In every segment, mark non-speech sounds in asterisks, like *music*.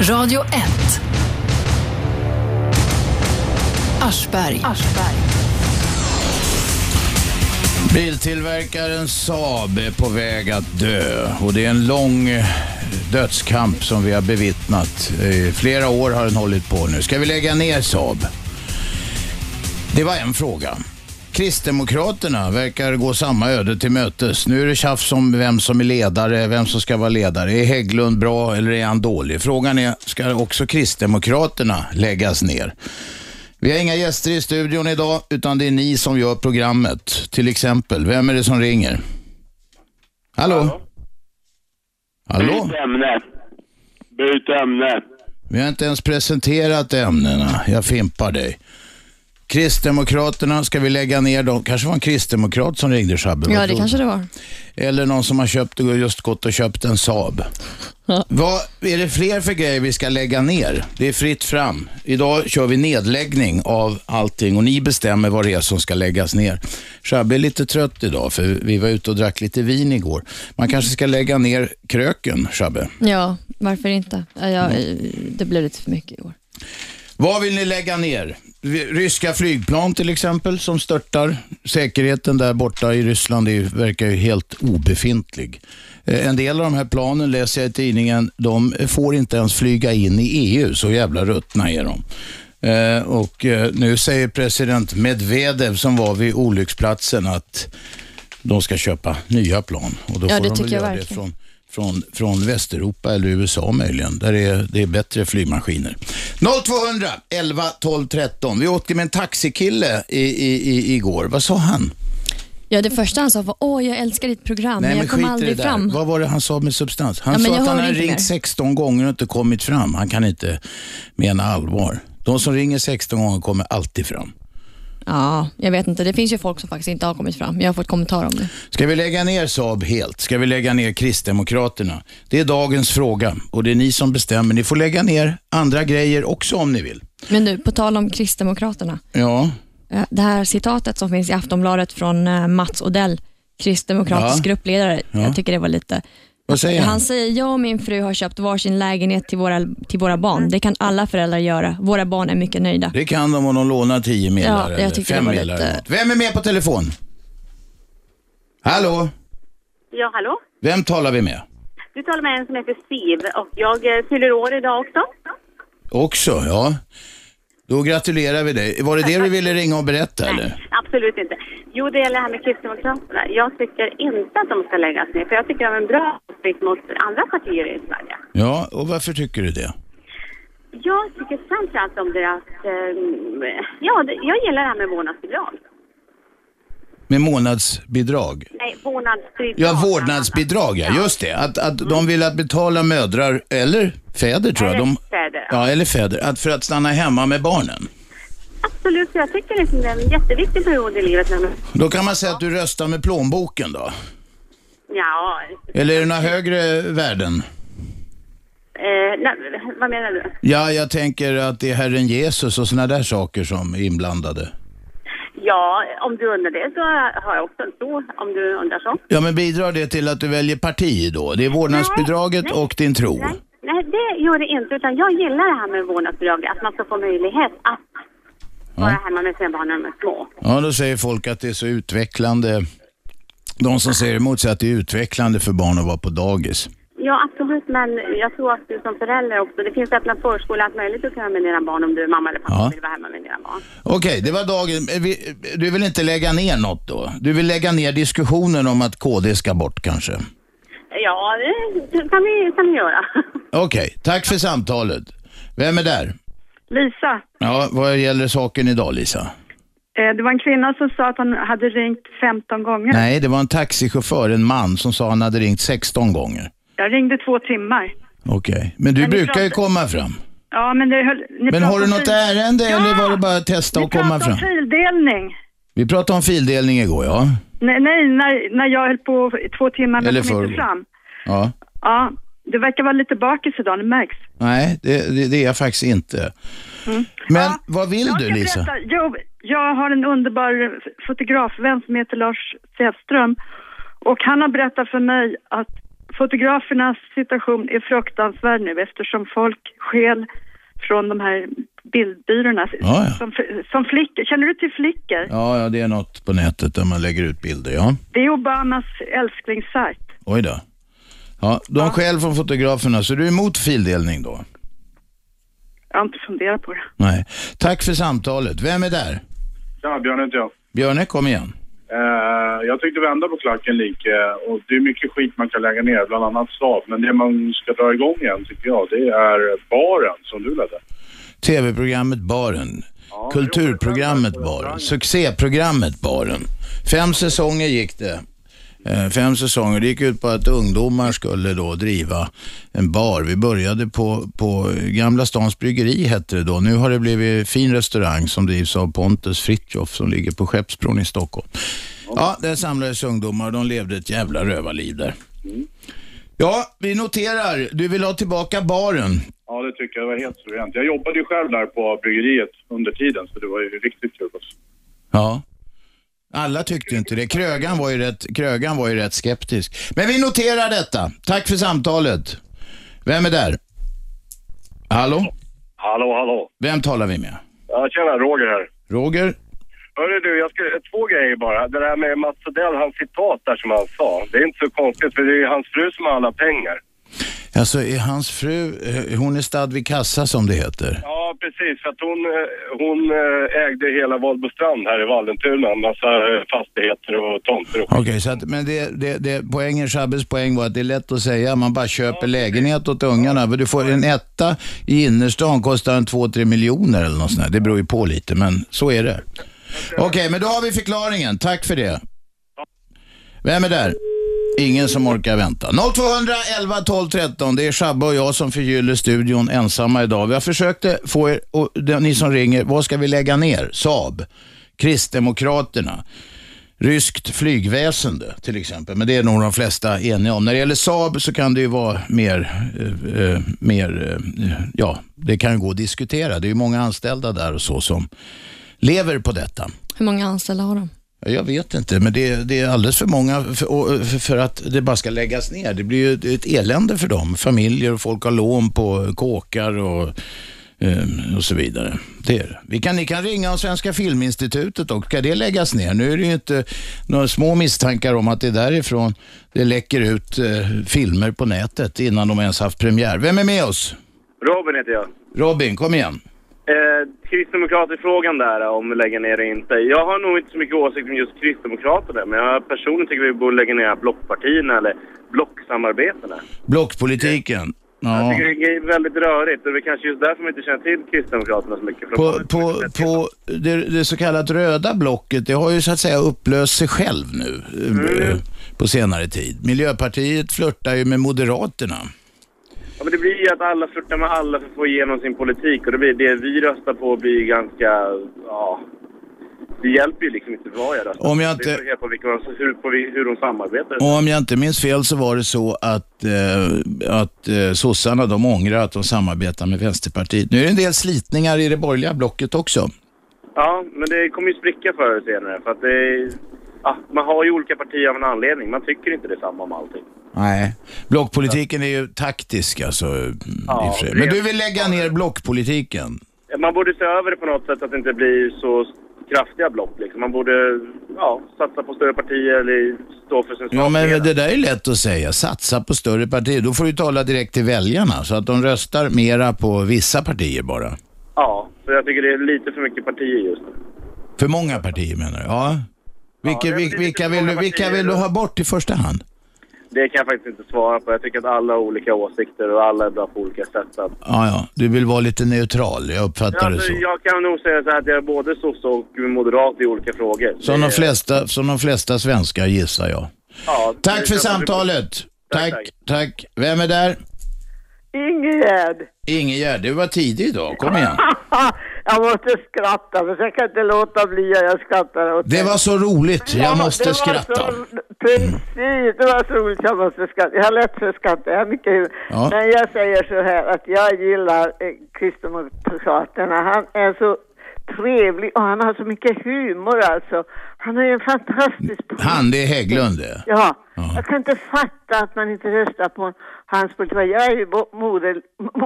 Radio 1. Aschberg. Biltillverkaren Saab är på väg att dö och det är en lång eh, dödskamp som vi har bevittnat. Eh, Flera år har den hållit på nu. Ska vi lägga ner Saab? Det var en fråga. Kristdemokraterna verkar gå samma öde till mötes. Nu är det tjafs om vem som är ledare, vem som ska vara ledare. Är Hägglund bra eller är han dålig? Frågan är, ska också Kristdemokraterna läggas ner? Vi har inga gäster i studion idag, utan det är ni som gör programmet. Till exempel, vem är det som ringer? Hallå? Hallå? Byt ämne. Byt ämne. Vi har inte ens presenterat ämnena. Jag fimpar dig. Kristdemokraterna, ska vi lägga ner dem? kanske var en kristdemokrat som ringde Shabbe. Ja, det vad tror kanske du? det var. Eller någon som har köpt, just gått och köpt en Saab. Vad är det fler för grejer vi ska lägga ner? Det är fritt fram. Idag kör vi nedläggning av allting och ni bestämmer vad det är som ska läggas ner. Shabbe är lite trött idag för vi var ute och drack lite vin igår. Man kanske ska lägga ner kröken, Shabbe. Ja, varför inte? Ja, jag, Mm. det blev lite för mycket i år. Vad vill ni lägga ner? Ryska flygplan till exempel som störtar. Säkerheten där borta i Ryssland är, ju- verkar ju helt obefintlig. Eh, En del av de här planen, läser jag i tidningen, de får inte ens flyga in i EU. Så jävla ruttna är de. Eh, Och eh, nu säger president Medvedev som var vid olycksplatsen att de ska köpa nya plan. Och då Ja, det får de väl tycker jag göra det verkligen. från, från, från Västeuropa eller USA möjligen. Där är, det är bättre flygmaskiner. 0200 11 12 13. Vi åkte med en taxikille i, i, i, igår. Vad sa han? Ja, det första han sa var åh, jag älskar ditt program, men jag skit i kommer det aldrig där. fram. Vad var det han sa med substans? Han Ja, men sa jag att han hör har inte ringt mer. 16 gånger och inte kommit fram. Han kan inte mena allvar. De som ringer 16 gånger kommer alltid fram. Ja, jag vet inte. Det finns ju folk som faktiskt inte har kommit fram. Jag har fått kommentarer om det. Ska vi lägga ner Saab helt? Ska vi lägga ner Kristdemokraterna? Det är dagens fråga och det är ni som bestämmer. Ni får lägga ner andra grejer också om ni vill. Men nu, på tal om Kristdemokraterna. Ja, Eh, Det här citatet som finns i Aftonbladet från eh, Mats Odell, kristdemokratisk Ja. gruppledare. Ja. Jag tycker det var lite... vad säger han? Han säger, jag och min fru har köpt varsin lägenhet till våra, till våra barn. Det kan alla föräldrar göra. Våra barn är mycket nöjda. Det kan de om de lånar 10 millar Ja, jag eller tyckte 5 det var millar. lite- eller något. Vem är med på telefon? Hallå? Ja, hallå? Vem talar vi med? Du talar med en som heter Steve och jag eh, fyller år idag också. Också, ja. Då gratulerar vi dig. Var det det du ville ringa och berätta eller? Absolut inte. Jo, det gäller det här med Kristdemokraterna. Jag tycker inte att de ska läggas ner, för jag tycker de är en bra motvikt mot andra partier i Sverige. Ja, och varför tycker du det? Jag tycker framförallt om deras... Eh, ja, det- jag gillar det här med vårdnadsbidrag. Med månadsbidrag? Nej, vårdnadsbidrag. Ja, vårdnadsbidrag, ja. Just det. Att, att de vill att betala mödrar, eller fäder tror jag. De, Eller fäder, ja. ja, eller fäder. Att för att stanna hemma med barnen. Absolut, för jag tycker liksom det är en jätteviktig period i livet. När man, Då kan man säga att du röstar med plånboken då. ja, Eller är det några högre värden? eh, nej, vad menar du? Ja, jag tänker att det är Herren Jesus och sådana där saker som är inblandade. Ja, om du undrar det så har jag också en tro, om du undrar så. Ja, men bidrar det till att du väljer parti då? Det är vårdnadsbidraget Nej, nej, och din tro. Nej, nej, det gör det inte. Utan jag gillar det här med vårdnadsbidrag, att man ska få möjlighet att vara hemma med sina barn när de är små. Ja, då säger folk att det är så utvecklande. De som säger emot säger att det är utvecklande för barn att vara på dagis. Ja, absolut, men jag tror att du som förälder också, det finns öppna förskolor, allt möjligt du kan göra med dina barn om du är mamma eller pappa Ja. vill vara hemma med dina barn. Okej, det var dagen. Eh, vi- eh, Du vill inte lägga ner något då? Du vill lägga ner diskussionen om att KD ska bort kanske? Ja, det kan vi, kan vi göra. Okej, tack för samtalet. Vem är där? Lisa, Ja, vad gäller saken idag Lisa? eh, det var en kvinna som sa att hon hade ringt 15 gånger. Nej, det var en taxichaufför, en man, som sa han hade ringt 16 gånger. Jag ringde två timmar. Okej, men du Men ni brukar ju pratar- komma fram. Ja, men det höll, ni Men pratar har du något fil- ärende Ja! eller var det bara att testa och komma Ni fram? pratade om fildelning. Vi pratade om fildelning igår, ja. Nej, nej när, när jag höll på i två timmar men Eller kom förrgår. inte fram. ja. Ja, du verkar vara lite bakis idag, det märks. Mm. Nej, det, det, det är jag faktiskt inte. Men vad vill Jag du ska Lisa? berätta. Jo, jag har en underbar fotografvän som heter Lars Säfström. Och han har berättat för mig att fotografernas situation är fruktansvärd nu eftersom folk skäl från de här bildbyråerna. ja. Som, som flickor. Känner du till flickor? Ja, ja, det är något på nätet där man lägger ut bilder, ja. Det är Obamas älsklingssajt. Oj då. Ja, de skäl från fotograferna, så du är emot fildelning då? Jag har inte funderat på det. Nej. Tack för samtalet. Vem är där? Tjena, Björn heter jag. Björne, kom igen. Eh, jag tyckte vända på klacken lika och det är mycket skit man kan lägga ner, bland annat slav. Men det man ska dra igång igen tycker jag, det är baren som du ledde. TV-programmet Baren. Kulturprogrammet Baren. Succéprogrammet Baren. Fem säsonger gick det. Eh, Fem säsonger. Det gick ut på att ungdomar skulle då driva en bar. Vi började på, på Gamla Stans Bryggeri hette det då. Nu har det blivit fin restaurang som drivs av Pontus Fritjof som ligger på Skeppsbron i Stockholm. Ja, där samlades ungdomar och de levde ett jävla rövarliv där. Ja, vi noterar. Du vill ha tillbaka baren. Ja, det tycker jag var helt suveränt. Jag jobbade ju själv där på bryggeriet under tiden, så det var ju riktigt kul också. Ja. Alla tyckte inte det. Krögan var ju rätt, krögan var ju rätt skeptisk. Men vi noterar detta. Tack för samtalet. Vem är där? Hallå? Hallå, hallå. Vem talar vi med? Ja, tjena, Roger här. Roger? Hörru du, jag ska, två grejer bara. Det där med Mats Odell, hans citat där som han sa. Det är inte så konstigt, för det är ju hans fru som har alla pengar. Alltså, är hans fru, eh, hon är stad vid kassa som det heter. Ja, precis. För att hon, eh, hon eh, ägde hela Valbostrand här i Vallentuna. En massa eh, fastigheter och tomter. och skit. Okej, så att, men det, det, det, poängen, Shabbes poäng var att det är lätt att säga, man bara köper lägenhet åt ungarna. För du får en etta i innerstan, kostar en 2-3 miljoner eller något sånt där. Det beror ju på lite, men så är det. Okej, men då har vi förklaringen. Tack för det. Vem är där? Ingen som orkar vänta. 0211 12 13. Det är Shabbe och jag som förgyller studion ensamma idag. Jag försökte få er, och det- ni som ringer, vad ska vi lägga ner? Saab, Kristdemokraterna, ryskt flygväsende till exempel. Men det är nog de flesta eniga om. När det gäller Saab så kan det ju vara mer, eh, eh, mer eh, ja, det kan ju gå att diskutera. Det är ju många anställda där och så som lever på detta. Hur många anställda har de? Ja, Jag vet inte, men det, det är alldeles för många för, och- för- för att det bara ska läggas ner. Det blir ju ett elände för dem. Familjer och folk har lån på kåkar och, eh, och så vidare. Det är det. Vi kan, ni kan ringa om Svenska Filminstitutet också. Ska det läggas ner? Nu är det ju inte några små misstankar om att det är därifrån det läcker ut eh, filmer på nätet innan de ens haft premiär. Vem är med oss? Robin heter jag. Robin, kom igen. Eh, Kristdemokraterfrågan där, eh, om vi lägger ner det inte. Jag har nog inte så mycket åsikt om just Kristdemokraterna, men jag personligen tycker vi borde lägga ner blockpartierna eller blocksamarbetena. Blockpolitiken. Ja. Jag tycker det är väldigt rörigt och det är kanske just därför man inte känner till Kristdemokraterna så mycket. Från På, på, på det, det så kallat röda blocket, det har ju så att säga upplöst sig själv nu eh, på senare tid. Miljöpartiet flörtar ju med Moderaterna. Ja, men det blir ju att alla flörtar med alla för att få igenom sin politik och det blir det vi röstar på blir ganska, ja... Det hjälper ju liksom inte vad jag röstar Om jag Det inte- beror helt på vilka, hur, på hur de samarbetar. Och om jag inte minns fel så var det så att, eh, att eh, sossarna de ångrar att de samarbetar med Vänsterpartiet. Nu är det en del slitningar i det borgerliga blocket också. Ja, men det kommer ju spricka förr eller senare. För att det, ja, man har ju olika partier av en anledning. Man tycker inte detsamma om allting. Nej. Blockpolitiken är ju taktisk alltså. i och för sig. Men du vill lägga ner blockpolitiken? Man borde se över det på något sätt så att det inte blir så kraftiga block. Liksom. Man borde ja, satsa på större partier eller stå för sin sak. Ja, men det där är lätt att säga. Satsa på större partier. Då får du tala direkt till väljarna så att de röstar mera på vissa partier bara. Ja, för jag tycker det är lite för mycket partier just nu. För många partier menar du? Ja. Vilka, vil- vilka, vill, du, vilka vill du ha bort i första hand? Det kan jag faktiskt inte svara på. Jag tycker att alla har olika åsikter och alla är bra på olika sätt. Så Att, Ja, ja. Du vill vara lite neutral, jag uppfattar det alltså, så. jag kan nog säga så här att jag är både sosse och moderat i olika frågor. Som de Det- flesta, som de flesta svenskar gissar jag. ja, Tack det- för samtalet. Tack, tack. Vem är där? Ingegärd, Ingegärd, du var tidig idag. Kom igen. *laughs* jag måste skratta för jag kan inte låta bli att jag skrattar åt Det var så roligt, jag måste skratta. Precis, det var så roligt jag måste skratta. Jag har lätt för att skratta, jag har mycket huvud. Ja. Men jag säger så här att jag gillar eh, Kristdemokraterna. Han är så trevlig och han har så mycket humor alltså. Han är ju en fantastisk Han, det är Hägglund det. Ja, jag kan inte fatta att man inte röstar på hans politik. Jag är ju bo- moder,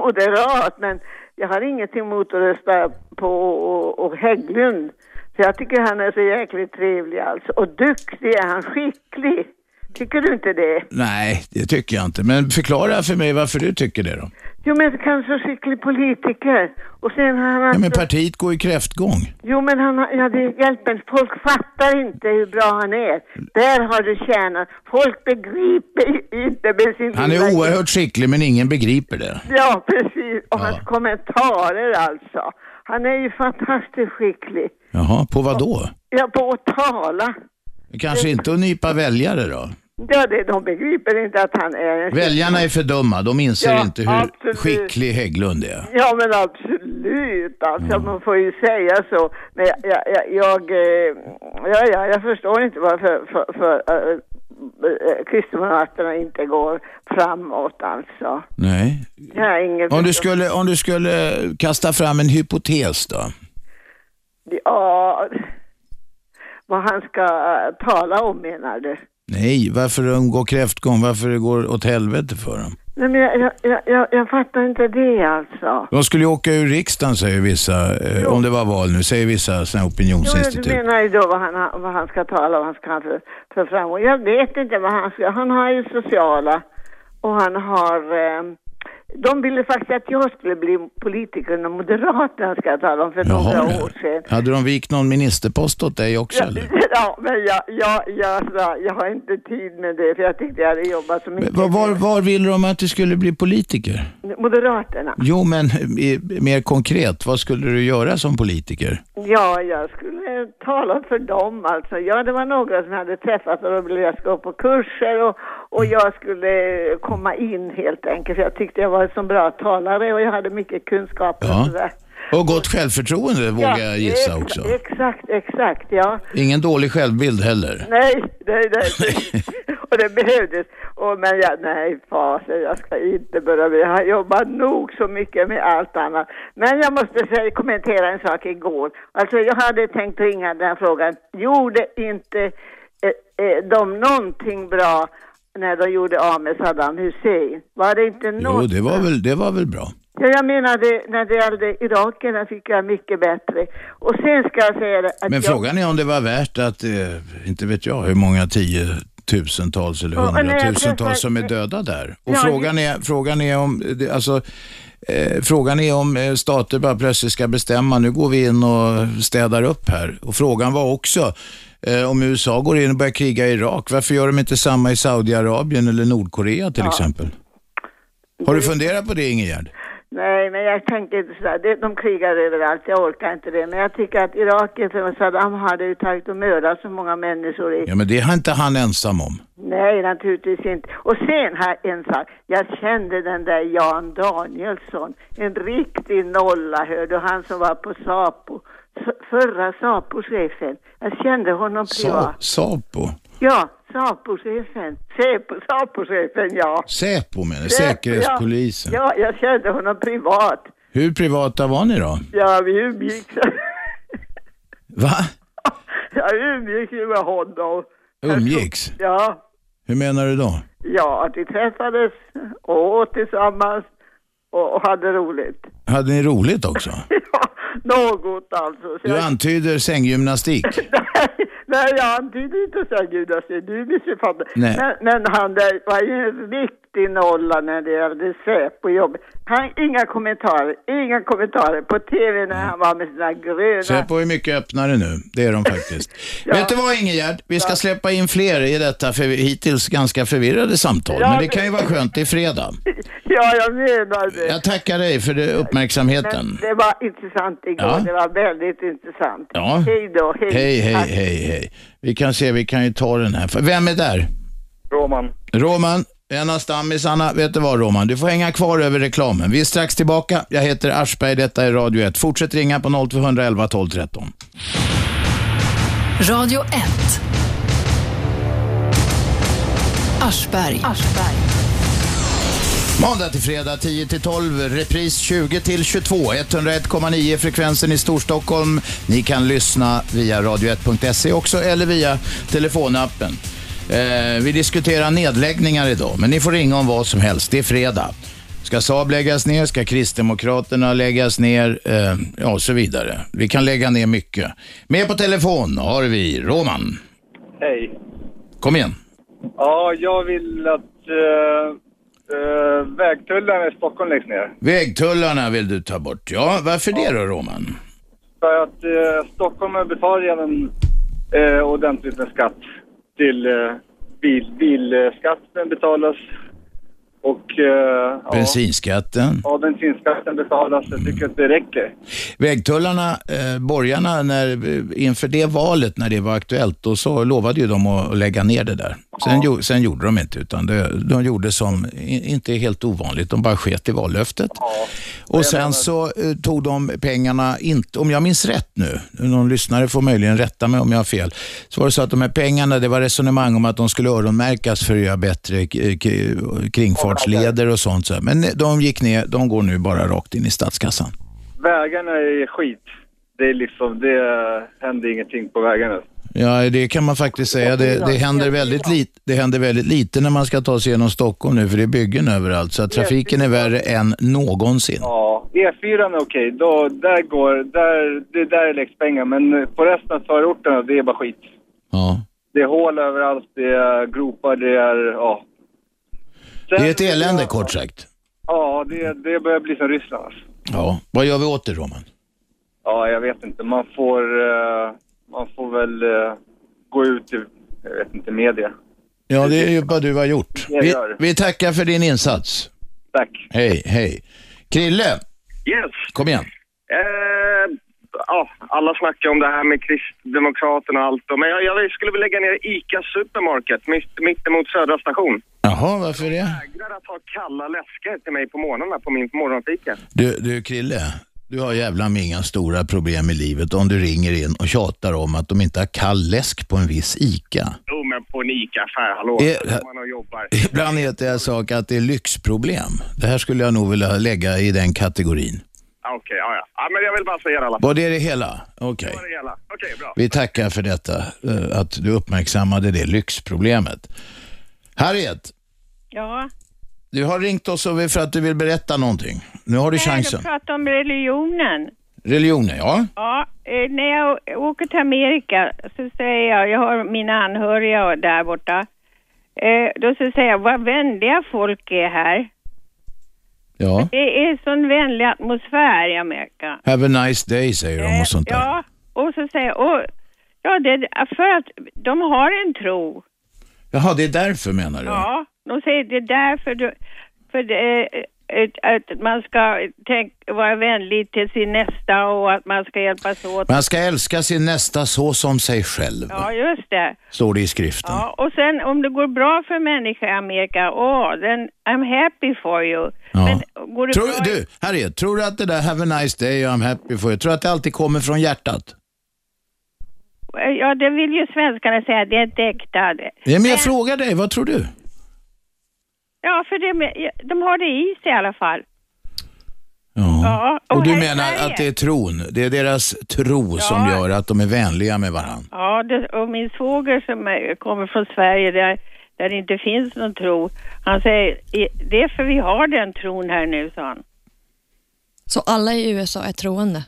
moderat, men jag har ingenting emot att rösta på och, och Hägglund. Så jag tycker han är så jäkligt trevlig alltså. Och duktig är han, skicklig. Tycker du inte det? Nej, det tycker jag inte. Men förklara för mig varför du tycker det då. Jo, men kanske skicklig politiker. Och sen har han Ja, men alltså- partiet går i kräftgång. Jo, men han, har- ja, det hjälper. Folk fattar inte hur bra han är. Där har du kärnan. Folk begriper ju inte med sin Han lilla- är oerhört skicklig men ingen begriper det. Ja, precis. Och hans kommentarer alltså. Han är ju fantastiskt skicklig. Jaha, på vad då? Ja, på att tala. Kanske inte att nypa väljare då? Ja, det, de begriper inte att han är en... Väljarna är för dumma, de inser Ja, inte hur absolut. skicklig Hägglund är. Ja, men absolut. Alltså, Mm. man får ju säga så. Men jag, jag, jag, jag, eh, ja, ja, jag förstår inte varför för, för, eh, eh, Kristdemokraterna inte går framåt alltså. Nej. Jag har ingen Om du skulle, om du skulle kasta fram en hypotes då? Ja, vad han ska eh, tala om menar du? Nej, varför de går kräftgång? Varför det går åt helvete för dem? Nej, men jag, jag- jag, jag, jag fattar inte det alltså. De skulle ju åka ur riksdagen säger vissa, eh, om det var val nu, säger vissa såna här Jo, opinionsinstitut. du menar ju då vad han, vad han ska tala om, han ska för, för framgång. Jag vet inte vad han ska, han har ju sociala och han har, eh, de ville faktiskt att jag skulle bli politiker när Moderaterna ska jag tala om för några Jaha, år sedan. hade de vikt någon ministerpost åt dig också eller? *laughs* Ja, men jag, jag, jag, sa, jag har inte tid med det för jag tyckte jag hade jobbat så mycket. Var, var, var ville de att du skulle bli politiker? Moderaterna? Jo, men eh, mer konkret, vad skulle du göra som politiker? Ja, jag skulle eh, tala för dem alltså. Ja, det var några som jag hade träffat och då ville jag gå på kurser och, och jag skulle eh, komma in helt enkelt. För jag tyckte jag var en så bra talare och jag hade mycket kunskaper Ja. och sådär. Och gott självförtroende vågar jag gissa ex- också. Exakt, exakt, ja. Ingen dålig självbild heller. Nej, nej, nej. *laughs* och det behövdes. Och, men jag, nej, fasen, jag ska inte börja med Jag har jobbat nog så mycket med allt annat. Men jag måste säga, kommentera en sak igår. Alltså, jag hade tänkt ringa den här frågan. Gjorde inte eh, eh, de någonting bra när de gjorde av med Saddam Hussein? Var det inte något? Jo, det var väl, det var väl bra. Ja, jag menade, när det gällde irakierna fick jag mycket bättre. Och sen ska jag säga det att Men jag... frågan är om det var värt att, eh, inte vet jag hur många tiotusentals eller Ja, och när jag träffar- hundratusentals som är döda där. Och Ja, frågan, är, frågan är om, eh, det- alltså, eh, frågan är om eh, stater bara plötsligt ska bestämma, nu går vi in och städar upp här. Och frågan var också, eh, om USA går in och börjar kriga i Irak, varför gör de inte samma i Saudiarabien eller Nordkorea till exempel? Har du funderat på det Ingegerd? Nej, men jag tänker inte sådär. Det- De krigar överallt, jag orkar inte det. Men jag tycker att Irak efter Saddam hade ju tagit och mördat så många människor i. Ja, men det är inte han ensam om. Nej, naturligtvis inte. Och sen här en sak. Jag kände den där Jan Danielsson. En riktig nolla, hör du. Han som var på SAPO. S- Förra SAPO-chefen. Jag kände honom Sa- privat. Sapo? Ja, SAPO-chefen. Säpo- SAPO-chefen, ja. Säpo menar jag, Säpo, Säkerhetspolisen. Ja, ja, jag kände honom privat. Hur privata var ni då? Ja, vi umgicks. *laughs* Va? Jag umgicks ju med honom. Umgicks? Ja, Hur menar du då? ja, att vi träffades och åt tillsammans och, och hade roligt. Hade ni roligt också? Något alltså. Så Du jag, antyder sänggymnastik. nej, jag antyder inte så här gudastid, du missuppfattar. Nej. Men, men han där var ju en riktig nolla när det gällde Säpo-jobbet. Han, inga kommentarer, inga kommentarer på TV när han var med sina gröna... Säpo är mycket öppnare nu, det är de *laughs* faktiskt. Vet du vad Ingegerd, vi ska släppa in fler i detta för hittills ganska förvirrade samtal. Ja, Men det men- kan ju vara skönt, det är fredag. *laughs* Ja, jag menar det. Jag tackar dig för det- Men uppmärksamheten. det var intressant igår. Ja. Det var väldigt intressant. Ja. Hej då. Hej. Hej, hej, Tack. hej, hej. Vi kan se, vi kan ju ta den här. Vem är där? Roman. Roman, en av stammisarna. Vet du vad Roman, du får hänga kvar över reklamen. Vi är strax tillbaka. Jag heter Aschberg, detta är Radio 1. Fortsätt ringa på 0211 12 13. Radio 1. Aschberg. Måndag till fredag 10 till 12, repris 20 till 22, 101,9 frekvensen i Storstockholm. Ni kan lyssna via radio1.se också eller via telefonappen. Eh, vi diskuterar nedläggningar idag, men ni får ringa om vad som helst. Det är fredag. Ska Saab läggas ner? Ska Kristdemokraterna läggas ner? Eh, ja, och så vidare. Vi kan lägga ner mycket. Med på telefon har vi Roman. Hej. Kom igen. Ja, jag vill att eh, eh, vägtullarna i Stockholm läggs ner. Vägtullarna vill du ta bort. Ja, varför det då, Roman? För att eh, Stockholm betalar redan eh, ordentligt med skatt till eh, bil, bilskatten betalas och eh, ja, Bensinskatten. ja, bensinskatten betalas. Jag tycker att det räcker. Vägtullarna, eh, borgarna, när, eh, inför det valet när det var aktuellt, då så lovade ju de att lägga ner det där. Sen, gjo- sen gjorde de inte, utan det, de gjorde som i- inte är helt ovanligt, de bara sket i vallöftet. Och sen så eh, tog de pengarna, inte, om jag minns rätt nu, någon lyssnare får möjligen rätta mig om jag har fel, så var det så att de här pengarna, det var resonemang om att de skulle öronmärkas för att göra bättre k- k- kringfartsleder och sånt. så här. Men de gick ner, de går nu bara rakt in i statskassan. Vägarna är skit. Det är liksom, det eh, händer ingenting på vägarna. Ja, det kan man faktiskt säga. Det, det, händer väldigt lite, det händer väldigt lite när man ska ta sig genom Stockholm nu, för det är byggen överallt. Så att trafiken är värre än någonsin. Ja, E4 är okej. Då, där går, där, det där läggs pengar. Men eh, på resten av förorterna, det är bara skit. Ja. Det är hål överallt, det är gropar, det är... Ja, Det är ett elände, kort sagt. ja det, det börjar bli som Ryssland alltså. Ja. Vad gör vi åt det, Roman? Ja, jag vet inte. Man får, eh, man får väl eh, gå ut i, jag vet inte, media. Ja, det är ju vad du har gjort. Vi, vi tackar för din insats. Tack. Hej, hej. Krille, Yes. kom igen. Eh, ja, alla snackar om det här med Kristdemokraterna och allt. Men jag, jag skulle vilja lägga ner ICA Supermarket mitt, mitt emot Södra station. Jaha, varför det? Vägrar att ha kalla läskar till mig på morgnarna på min morgonfika. Du, du Krille, du har jävla med inga stora problem i livet om du ringer in och tjatar om att de inte har kall läsk på en viss ICA. Jo, men på en ICA-affär, hallå. Eh, Där går man och jobbar. Ibland heter jag sak att det är lyxproblem. Det här skulle jag nog vilja lägga i den kategorin. Ah, Okej, ja, ja. ja. men jag vill bara säga det alla. Var det det hela? Okej. Det var det hela. Okej, bra. Vi tackar för detta, eh, att du uppmärksammade det lyxproblemet. Harriet, Ja, du har ringt oss över för att du vill berätta någonting. Nu har du chansen. jag pratar om religionen. Religionen, ja. Ja, eh, när jag å- åker till Amerika så säger jag, jag har mina anhöriga där borta. Eh, då så säger jag, vad vänliga folk är här. *laughs* Ja. Det är sån vänlig atmosfär i Amerika. Have a nice day, säger Eh. de och sånt där. Ja, och så säger jag, och, ja, det är för att de har en tro. Jaha, det är därför menar du? Ja, de säger det är därför du, för det, eh, att- att man ska tänk, vara vänlig till sin nästa och att man ska hjälpas åt. Man ska älska sin nästa så som sig själv, Ja, just det. står det i skriften. Ja, och sen om det går bra för människor i Amerika, åh, then I'm happy for you. Ja. Går det Tror, bra? du, Harriet, tror du att det där “Have a nice day” och “I'm happy for you”, tror du att det alltid kommer från hjärtat? Ja, det vill ju svenskarna säga, det är inte äkta. det. Ja, men jag frågar dig, vad tror du? Ja, för det, de har det i sig i alla fall. Ja, och Och du här i menar Sverige- att det är tron, det är deras tro som gör att de är vänliga med varandra? Ja, det, och min svåger som är, kommer från Sverige där, där det inte finns någon tro, han säger "I- det är för vi har den tron här nu, sa han. Så alla i USA är troende?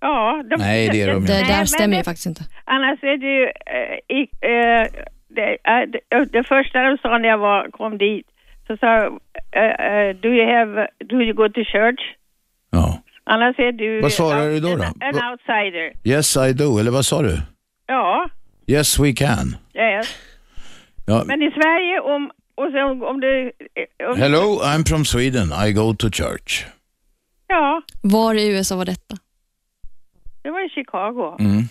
Ja, Det de, Nej, men där stämmer ju det- faktiskt inte. Annars är det ju, eh, i, eh, det, eh, det, det första de sa när jag var, kom dit, så sa jag, eh, eh, do you have, do you go to church? Ja. Annars är du Vad svarar du då? då? an Va- outsider. Yes I do, eller vad sa du? Ja, Yes we can. yes. Ja. men i Sverige om, och sen om du... eh, Om, Hello, I'm from Sweden, I go to church. Ja, Var i USA var detta? det var i Chicago. Mm.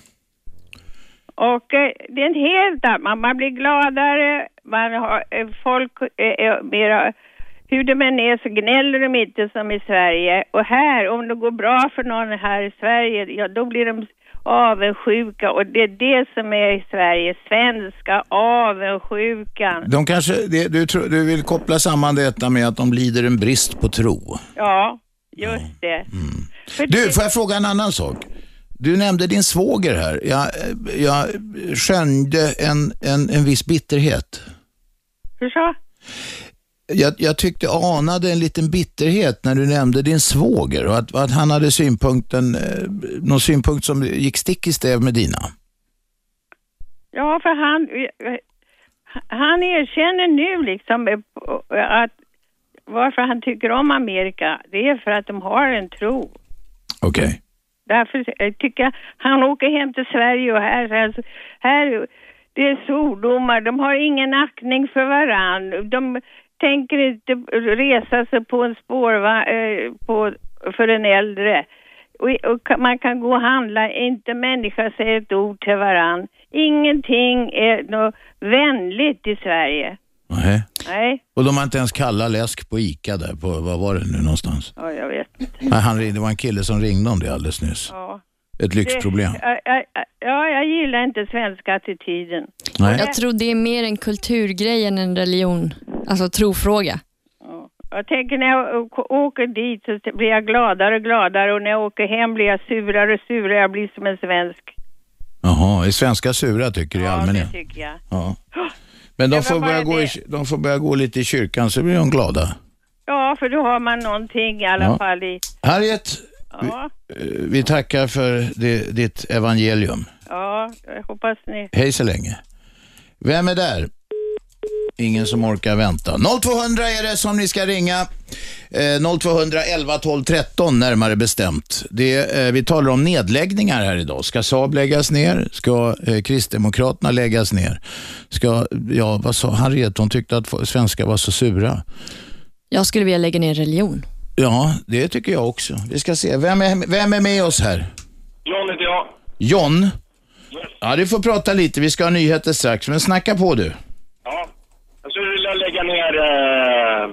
Och eh, det är en helt annan, man, man blir gladare, man har, eh, folk eh, är mera, hur de än är så gnäller de inte som i Sverige. Och här, om det går bra för någon här i Sverige, ja då blir de, avundsjuka och det är det som är i Sverige, svenska avundsjukan. De kanske, det, du, tror- du vill koppla samman detta med att de lider en brist på tro. Ja, just det. Mm. Du, får jag fråga en annan sak? Du nämnde din svåger här. Jag, jag skönjde en, en, en viss bitterhet. Hur så? Jag, jag tyckte jag anade en liten bitterhet när du nämnde din svåger och att, att han hade synpunkten, eh, någon synpunkt som gick stick i stäv med dina. Ja, för han, han erkänner nu liksom eh, att varför han tycker om Amerika, det är för att de har en tro. Okej. Därför eh, tycker jag, han åker hem till Sverige och här, här, här det är svordomar, de har ingen aktning för varann. De tänker inte resa sig på en spårvagn eh, på, för en äldre. Och, och ka- man kan gå och handla, inte människa säger ett ord till varann. Ingenting är något vänligt i Sverige. Nähä. Nej, Och de har inte ens kalla läsk på ICA där, på, vad var det nu någonstans? ja, jag vet. Nej, han, ringde- det var en kille som ringde om det alldeles nyss. Ja. Ett lyxproblem. Det- ja, ja, ja, ja, jag gillar inte svenska attityden. Nej. Jag tror det är mer en kulturgrej än en religion, alltså trofråga. Jag tänker när jag å- å- åker dit så blir jag gladare och gladare och när jag åker hem blir jag surare och surare. Jag blir som en svensk, Jaha, är svenska sura tycker du i allmänhet? tycker jag. Ja. Men de får, börja gå i, de får börja gå lite i kyrkan så blir de glada. Ja, för då har man någonting i alla Ja. fall i... Harriet, Ja, eh, vi tackar för det, ditt evangelium. ja, jag hoppas ni... Hej så länge. Vem är där? Ingen som orkar vänta. 0200 är det som ni ska ringa. Eh, 0200 11 12 13 närmare bestämt. Det, eh, vi talar om nedläggningar här idag. Ska Saab läggas ner? Ska eh, Kristdemokraterna läggas ner? Ska, ja, vad sa Harriet? Hon tyckte att fo- svenskar var så sura. Jag skulle vilja lägga ner religion. Ja, det tycker jag också. Vi ska se. Vem är, vem är med oss här? John heter jag. John? Ja, du får prata lite. Vi ska ha nyheter strax, men snacka på du. Jag skulle vilja lägga ner eh,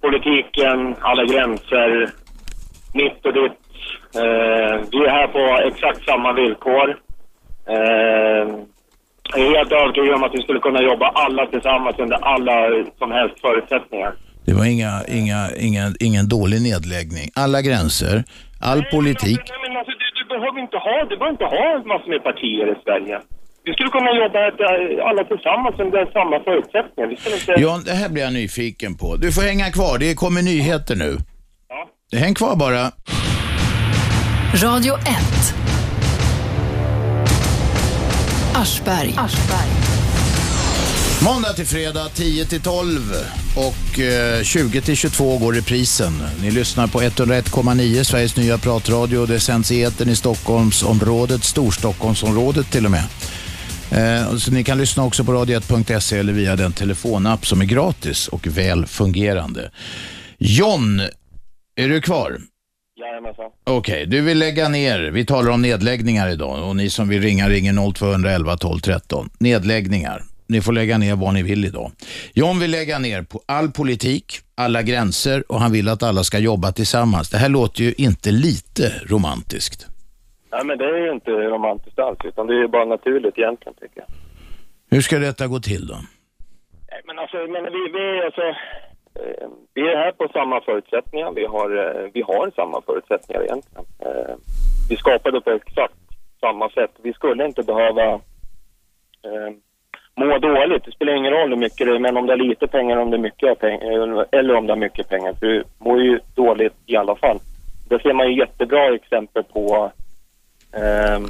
politiken, alla gränser, mitt och ditt. Eh, vi är här på exakt samma villkor. Eh, jag är helt övertygad om att vi skulle kunna jobba alla tillsammans under alla som helst förutsättningar. Det var inga, inga, inga, ingen dålig nedläggning. Alla gränser, all politik. Nej, men alltså, du, du behöver inte ha, du behöver inte ha massor med partier i Sverige. Vi skulle kunna jobba eh, alla tillsammans under samma förutsättningar. Vi skulle inte... John, det här blir jag nyfiken på. Du får hänga kvar. Det kommer nyheter nu. Häng kvar bara. Radio 1. Aschberg. Måndag till fredag 10 till 12 och eh, 20 till 22 går reprisen. Ni lyssnar på 101,9 Sveriges nya pratradio. Det sänds i etern i Stockholmsområdet, Storstockholmsområdet till och med. Eh, och så ni kan lyssna också på radio1.se eller via den telefonapp som är gratis och väl fungerande. John, är du kvar? Jajamensan. Okej, du vill lägga ner. Vi talar om nedläggningar idag och ni som vill ringa ringer 0211 12 13. Nedläggningar. Ni får lägga ner vad ni vill idag. John vill lägga ner på all politik, alla gränser och han vill att alla ska jobba tillsammans. Det här låter ju inte lite romantiskt. Nej, men det är ju inte romantiskt alls, utan det är ju bara naturligt egentligen, tycker jag. Hur ska detta gå till då? Nej, men alltså, men vi, vi, alltså, eh, vi är här på samma förutsättningar. Vi har, eh, vi har samma förutsättningar egentligen. Eh, vi skapade på exakt samma sätt. Vi skulle inte behöva eh, må dåligt. Det spelar ingen roll hur mycket det är, men om det är lite pengar, om det är mycket pengar, eller om det är mycket pengar. För du mår ju dåligt i alla fall. Det ser man ju jättebra exempel på eh,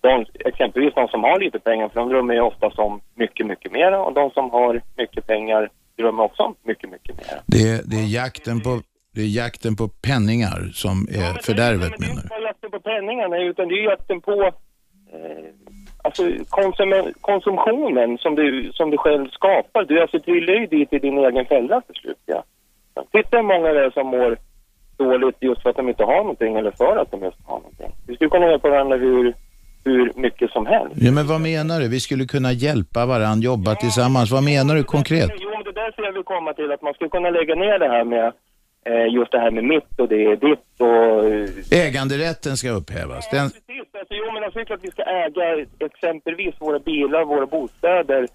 de, exempelvis de som har lite pengar, för de drömmer ju oftast om mycket, mycket mer. Och de som har mycket pengar drömmer också om mycket, mycket mer. Det är, det är, jakten, på, det är jakten på penningar som är fördärvet menar du? Inte bara jakten på penningarna, utan det är ju jakten på eh, alltså konsum- konsumtionen som du, som du själv skapar. Du alltså trillar ju dit i din egen fälla till slut. Ja. Titta hur många det är som mår dåligt just för att de inte har någonting eller för att de just har någonting. Vi skulle kunna hjälpa varandra hur, hur mycket som helst. Ja, men vad menar du? Vi skulle kunna hjälpa varandra, jobba tillsammans. Vad menar du konkret? Jo, det där ser jag vill komma till, att man skulle kunna lägga ner det här med eh, just det här med mitt och det är ditt och... eh, Äganderätten ska upphävas. Den, Precis, alltså, jo men alltså, det är klart att vi ska äga exempelvis våra bilar, våra bostäder. ä-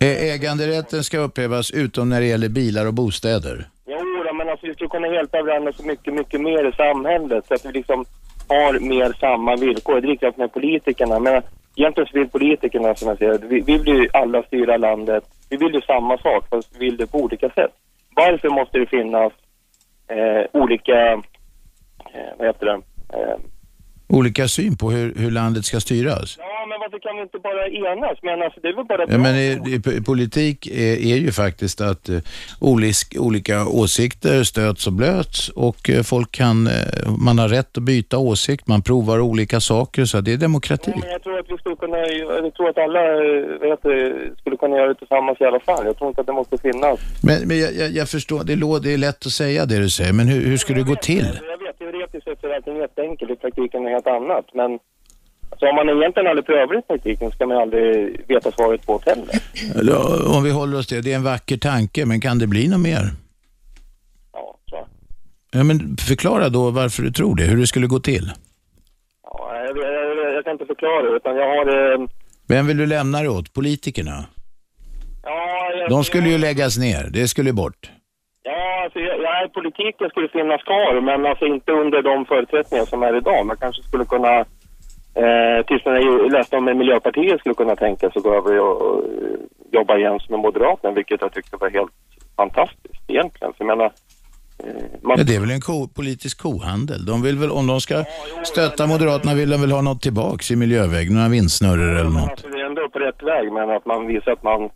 Eh, äganderätten ska upphävas utom när det gäller bilar och bostäder. Jo, då, men alltså vi skulle kunna hjälpa varandra så mycket, mycket mer i samhället så att vi liksom har mer samma villkor. Det är likadant med politikerna. Men egentligen så vill politikerna, som jag ser det, vi, vi vill ju alla styra landet. Vi vill ju samma sak, fast vi vill det på olika sätt. Varför måste det finnas eh, olika, eh, vad heter det, eh, Olika syn på hur, hur landet ska styras. Ja, men varför kan vi inte bara enas? Men alltså, det är väl bara Ja, men eh, p- politik är, är ju faktiskt att eh, olisk, olika åsikter stöts och blöts och eh, folk kan, eh, man har rätt att byta åsikt, man provar olika saker, så det är demokrati. Men jag tror att vi skulle kunna, jag tror att alla eh, vad heter det, skulle kunna göra det tillsammans i alla fall. Jag tror inte att det måste finnas. Men, men jag, jag, jag förstår, det, lå, det är lätt att säga det du säger, men hur, hur skulle det gå till? Jag vet, teoretiskt sett är det allting jätteenkelt, i praktiken är det helt annat. Men alltså, om man egentligen aldrig prövar i praktiken så kan man ju aldrig veta svaret på det heller. Eller, Om vi håller oss till det, det är en vacker tanke, men kan det bli något mer? Ja, men förklara då varför du tror det, hur det skulle gå till. Ja, jag, jag, jag, jag kan inte förklara det, utan jag har... eh, Vem vill du lämna det åt? Politikerna? Ja, jag, De skulle ju läggas ner, det skulle bort. Ja, alltså, jag, jag, politiken skulle finnas kvar, men alltså inte under de förutsättningar som är idag. Man kanske skulle kunna, eh, tills när jag läste om Miljöpartiet skulle kunna tänka sig att gå över och, och eh, jobba igen som en moderat, men vilket jag tyckte var helt fantastiskt egentligen. För jag menar, eh, man, Ja, det är väl en ko, politisk kohandel. De vill väl, om de ska stötta Moderaterna vill de väl ha något tillbaks i miljöväg, några vindsnurror eller något. alltså, det är ändå på rätt väg, men att man visar att man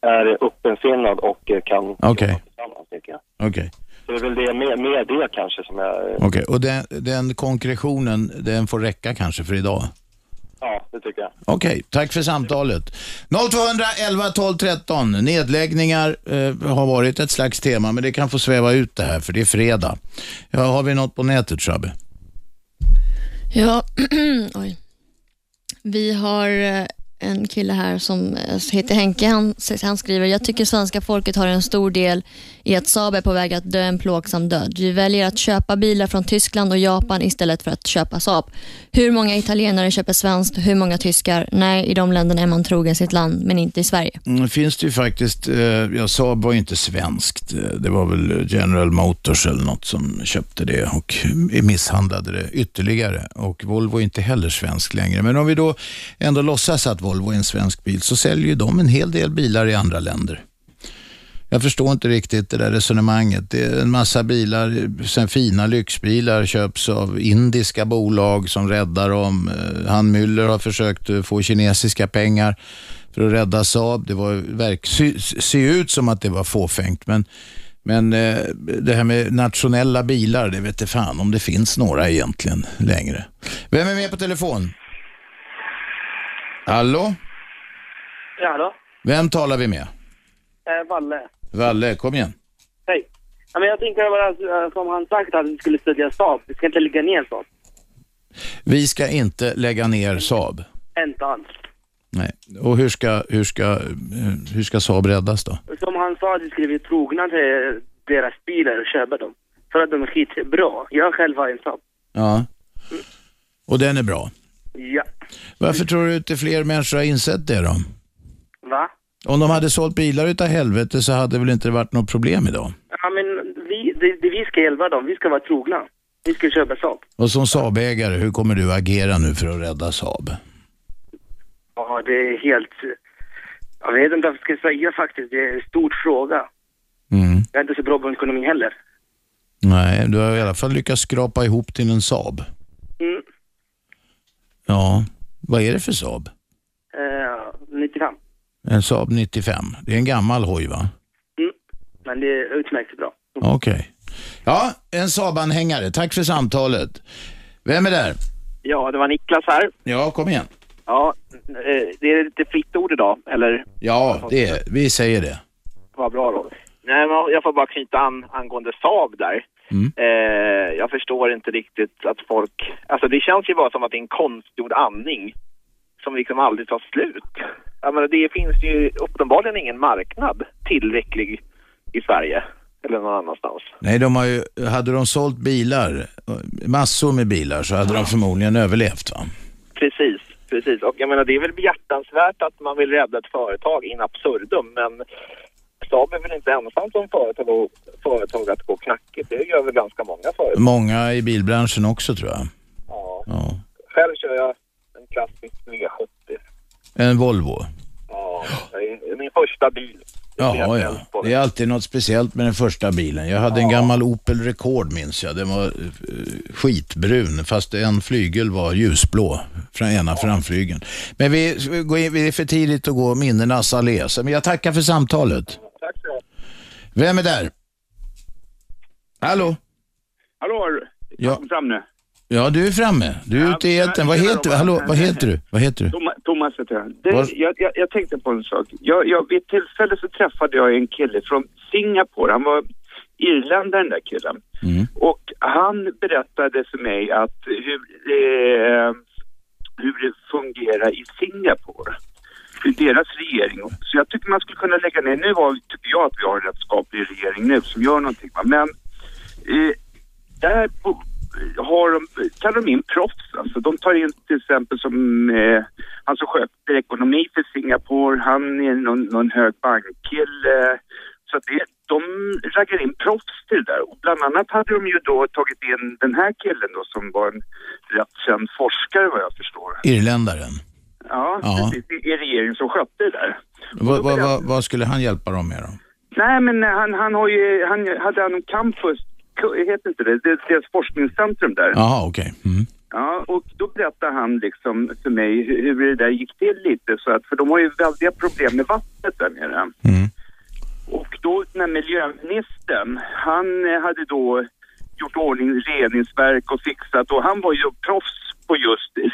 är öppensinnad och eh, kan Okej, tillsammans, tycker jag. okej. Så det är väl det, mer, mer det kanske som jag... eh, okej. Och den, den konkretionen, den får räcka kanske för idag. Ja, det tycker jag. Okej, tack för samtalet. 0211 12 13. Nedläggningar eh, har varit ett slags tema, men det kan få sväva ut det här, för det är fredag. Ja, har vi något på nätet, Shabbe? Ja, *clears throat* oj. Vi har eh, en kille här som eh, heter Henke. Han, han skriver, jag tycker svenska folket har en stor del i att Saab är på väg att dö en plågsam död. Vi väljer att köpa bilar från Tyskland och Japan istället för att köpa Saab. Hur många italienare köper svenskt? Hur många tyskar? Nej, i de länderna är man trogen sitt land, men inte i Sverige. Mm, finns det ju faktiskt, eh, ja, Saab var ju inte svenskt. Eh, Det var väl General Motors eller något som köpte det och misshandlade det ytterligare. Och Volvo är inte heller svensk längre. Men om vi då ändå låtsas att Volvo är en svensk bil så säljer ju de en hel del bilar i andra länder. Jag förstår inte riktigt det där resonemanget. Det är en massa bilar, sen fina lyxbilar köps av indiska bolag som räddar dem. Eh, Han Müller har försökt eh, få kinesiska pengar för att rädda Saab. Det var verk, sy, ser ju ut som att det var fåfängt, men, men eh, det här med nationella bilar, det vet jag fan om det finns några egentligen längre. Vem är med på telefon? Hallå? Ja, hallå? Vem talar vi med? Eh, Valle. Valle, kom igen. Hej. Ja, men jag tänker bara eh, som han sagt att vi skulle stödja Saab. Vi ska inte lägga ner Saab. Vi ska inte lägga ner Saab. Inte alls. Nej. Och hur ska, hur ska, eh, hur ska Saab räddas då? Som han sa, vi skulle bli trogna till deras bilar och köpa dem. För att de är skitbra. Jag själv har en Saab. Ja. Och den är bra. Ja. Varför tror du inte fler människor har insett det då? Va? Om de hade sålt bilar utav helvete så hade väl inte varit något problem idag. Ja, men vi, det, det, vi ska hjälpa dem. Vi ska vara trogna. Vi ska köpa Saab. Och som Saab-ägare, hur kommer du agera nu för att rädda Saab? Ja, det är helt... Jag vet inte vad jag ska säga faktiskt. Det är en stor fråga. Mm. Jag är inte så bra på ekonomin heller. Nej, du har i alla fall lyckats skrapa ihop till en Saab. Mm. Ja, vad är det för Saab? Eh, 95. En Saab 95. Det är en gammal hoj va? Men det är utmärkt bra. Okej. Ja, en Saab-anhängare. Tack för samtalet. Vem är där? Ja, det var Niklas här. Ja, kom igen. Ja, eh, det är lite fritt ord idag, eller? Ja, det är, vi säger det. Vad bra då. Nej, men jag får bara knyta an angående Saab där. Eh, jag förstår inte riktigt att folk... Alltså det känns ju bara som att det är en konstgjord andning som liksom aldrig tar slut. Jag menar, det finns ju uppenbarligen ingen marknad tillräcklig i Sverige. eller någon annanstans. Nej, de har ju, hade de sålt bilar, massor med bilar, så hade de förmodligen överlevt va? Precis, precis. Och jag menar det är väl behjärtansvärt att man vill rädda ett företag in absurdum men Saab är väl inte ensam som företag, och, företag att gå knackigt. Det gör väl ganska många företag. Många i bilbranschen också tror jag. Ja. Ja. Själv kör jag en klassisk V70. En Volvo. Ja, det är min första bil. Jaha, ja. Det är alltid något speciellt med den första bilen. Jag hade en gammal Opel Rekord minns jag. Den var eh, skitbrun, fast en flygel var ljusblå, från ena framflygeln. Men vi, vi går in, det är för tidigt att gå minnenas allé, så- men jag tackar för samtalet. Tack så Vem är där? Hallå? Hallå, Ja. kom fram nu. Ja, du är framme. Du är ute i etern. Vad heter, hallå, vad heter du? Vad heter du? Toma- Thomas heter jag. Var- Det, jag, jag. Jag tänkte på en sak. Jag, jag, vid ett tillfälle så träffade jag en kille från Singapore. Han var irländare den där killen. Och han berättade för mig att hur, eh, hur det fungerar i Singapore. Hur deras regering. Så jag tycker man skulle kunna lägga ner. Nu har, tycker jag att vi har en rätt skaplig regering nu som gör någonting. Va? Men eh, där bo- har de, tar de in proffs. Alltså, de tar in till exempel som eh, han som sköter ekonomi för Singapore, han är någon, någon hög bankkille. Så att det, de raggar in proffs till det där. Och bland annat hade de ju då tagit in den här killen då som var en rätt känd forskare vad jag förstår. Irländaren. Ja, Ja. precis. Det är regeringen som skötte det där. Vad, vad, vad, vad skulle han hjälpa dem med då? Nej, men eh, han, han har ju, han hade han en campus, heter inte det, det är deras forskningscentrum där. Jaha, okej. Ja, och då berättade han liksom för mig hur, hur det där gick till lite, så att, för de har ju väldiga problem med vattnet där nere. Och då när miljöministern, han eh, hade då gjort ordning reningsverk och fixat och han var ju proffs på just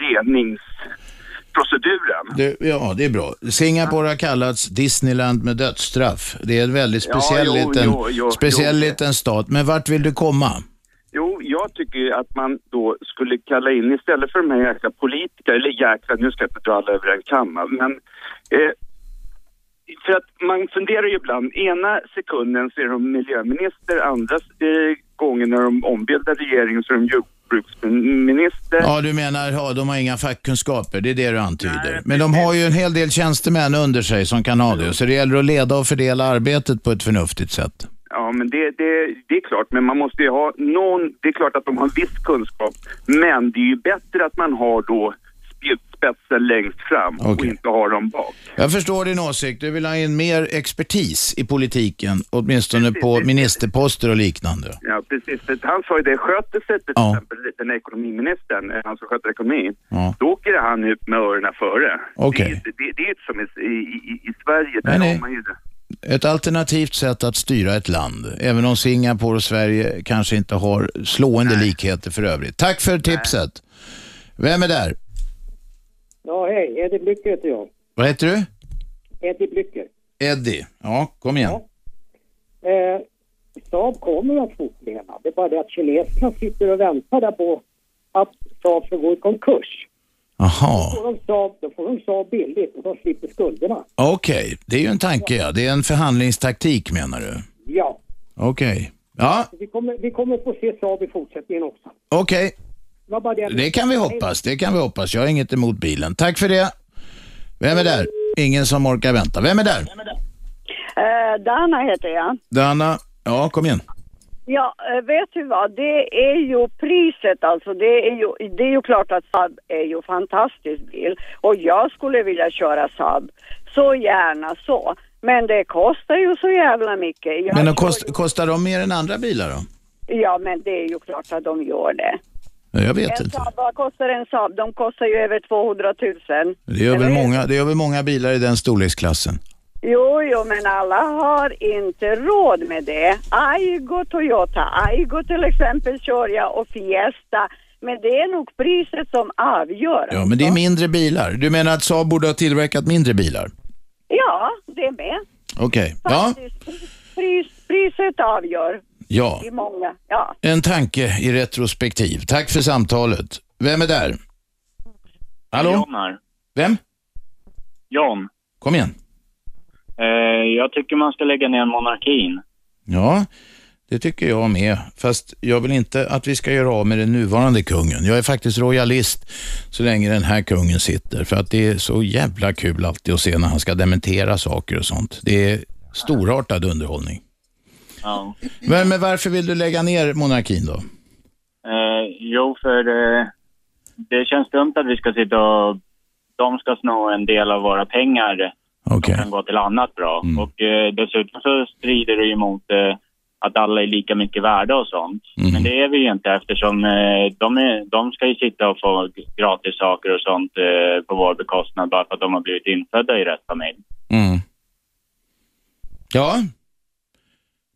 reningsproceduren. Det, ja, det är bra. Singapore har kallats Disneyland med dödsstraff. Det är en väldigt Ja, speciell, jo, liten, jo, jo, speciell jo. liten stat. Men vart vill du komma? Jo, jag tycker ju att man då skulle kalla in, istället för de här jäkla politikerna, eller jäkla, nu ska jag inte dra alla över en kamma, men eh, för att man funderar ju ibland, ena sekunden så är de miljöminister, andra eh, gången när de ombildar regeringen så är de jordbruksminister. Ja, du menar, ja, de har inga fackkunskaper, det är det du antyder. Men de har ju en hel del tjänstemän under sig som kan ha det, så det gäller att leda och fördela arbetet på ett förnuftigt sätt. Ja, men det, det, det är klart, men man måste ju ha någon, det är klart att de har en viss kunskap, men det är ju bättre att man har då spjutspetsen längst fram och Okej. inte har dem bak. Jag förstår din åsikt, du vill ha in mer expertis i politiken, åtminstone på ministerposter och liknande. Ja, precis. För Han sa ju det, sköter sig till Ja. exempel den här ekonomiministern, eh, han som sköter ekonomi, Ja. då åker han ut med öronen före. Det, Okej. är ju- det, det är inte som i, i, i- i Sverige, där Nej, nej. har man ju det. Ett alternativt sätt att styra ett land, även om Singapore och Sverige kanske inte har slående likheter för övrigt. Tack för tipset. Vem är där? Ja, hej. Eddie Blycker heter jag. Vad heter du? Eddie Blycker. Eddie. Ja, kom igen. Eh, Saab kommer att fortleva. Det är bara det att kineserna sitter och väntar där på att Saab ska gå i konkurs. Aha. Då får de Saab, då får de Saab billigt och de slipper skulderna. Okej, det är ju en tanke ja. Det är en förhandlingstaktik menar du? Ja, Okej. Ja, vi kommer, vi kommer få se Saab i fortsättningen också. okej. Det, var bara det, jag- Det kan vi hoppas. Det kan vi hoppas. Jag har inget emot bilen. Tack för det. Vem är där? Ingen som orkar vänta. Vem är där? Eh, Dana heter jag. Dana. Ja, kom igen. Ja, eh, vet du vad, det är ju priset alltså. Det är ju, det är ju klart att Saab är ju fantastisk bil och jag skulle vilja köra Saab. Så gärna så. Men det kostar ju så jävla mycket. Jag, Men de kost, kostar de mer än andra bilar då? Ja, men det är ju klart att de gör det. Ja, Jag vet en inte. Saab, vad kostar en Saab? De kostar ju över 200 000. Det gör, väl många, det gör väl många bilar i den storleksklassen? Jo, jo, men alla har inte råd med det. Aigo Toyota, Aigo till exempel kör jag och Fiesta. Men det är nog priset som avgör. Ja, men det är mindre bilar. Du menar att Saab borde ha tillverkat mindre bilar? Ja, det med. Okej. Ja, Pris, priset avgör. ja. I många, ja. En tanke i retrospektiv. Tack för samtalet. Vem är där? Hallå? Jan här. Vem? Jan, Kom igen. eh, jag tycker man ska lägga ner monarkin. Ja, Det tycker jag med, fast jag vill inte att vi ska göra av med den nuvarande kungen. Jag är faktiskt royalist så länge den här kungen sitter, för att det är så jävla kul alltid att se när han ska dementera saker och sånt. Det är storartad underhållning. Ja. Men, men varför vill du lägga ner monarkin då? Eh, jo, för eh, det känns dumt att vi ska sitta och... De ska sno en del av våra pengar som kan gå till annat bra. Mm. Och eh, dessutom så strider det ju mot eh, att alla är lika mycket värda och sånt. Mm. Men det är vi ju inte eftersom eh, de, är, de ska ju sitta och få gratis saker och sånt eh, på vår bekostnad bara för att de har blivit infödda i rätt familj. Mm. Ja.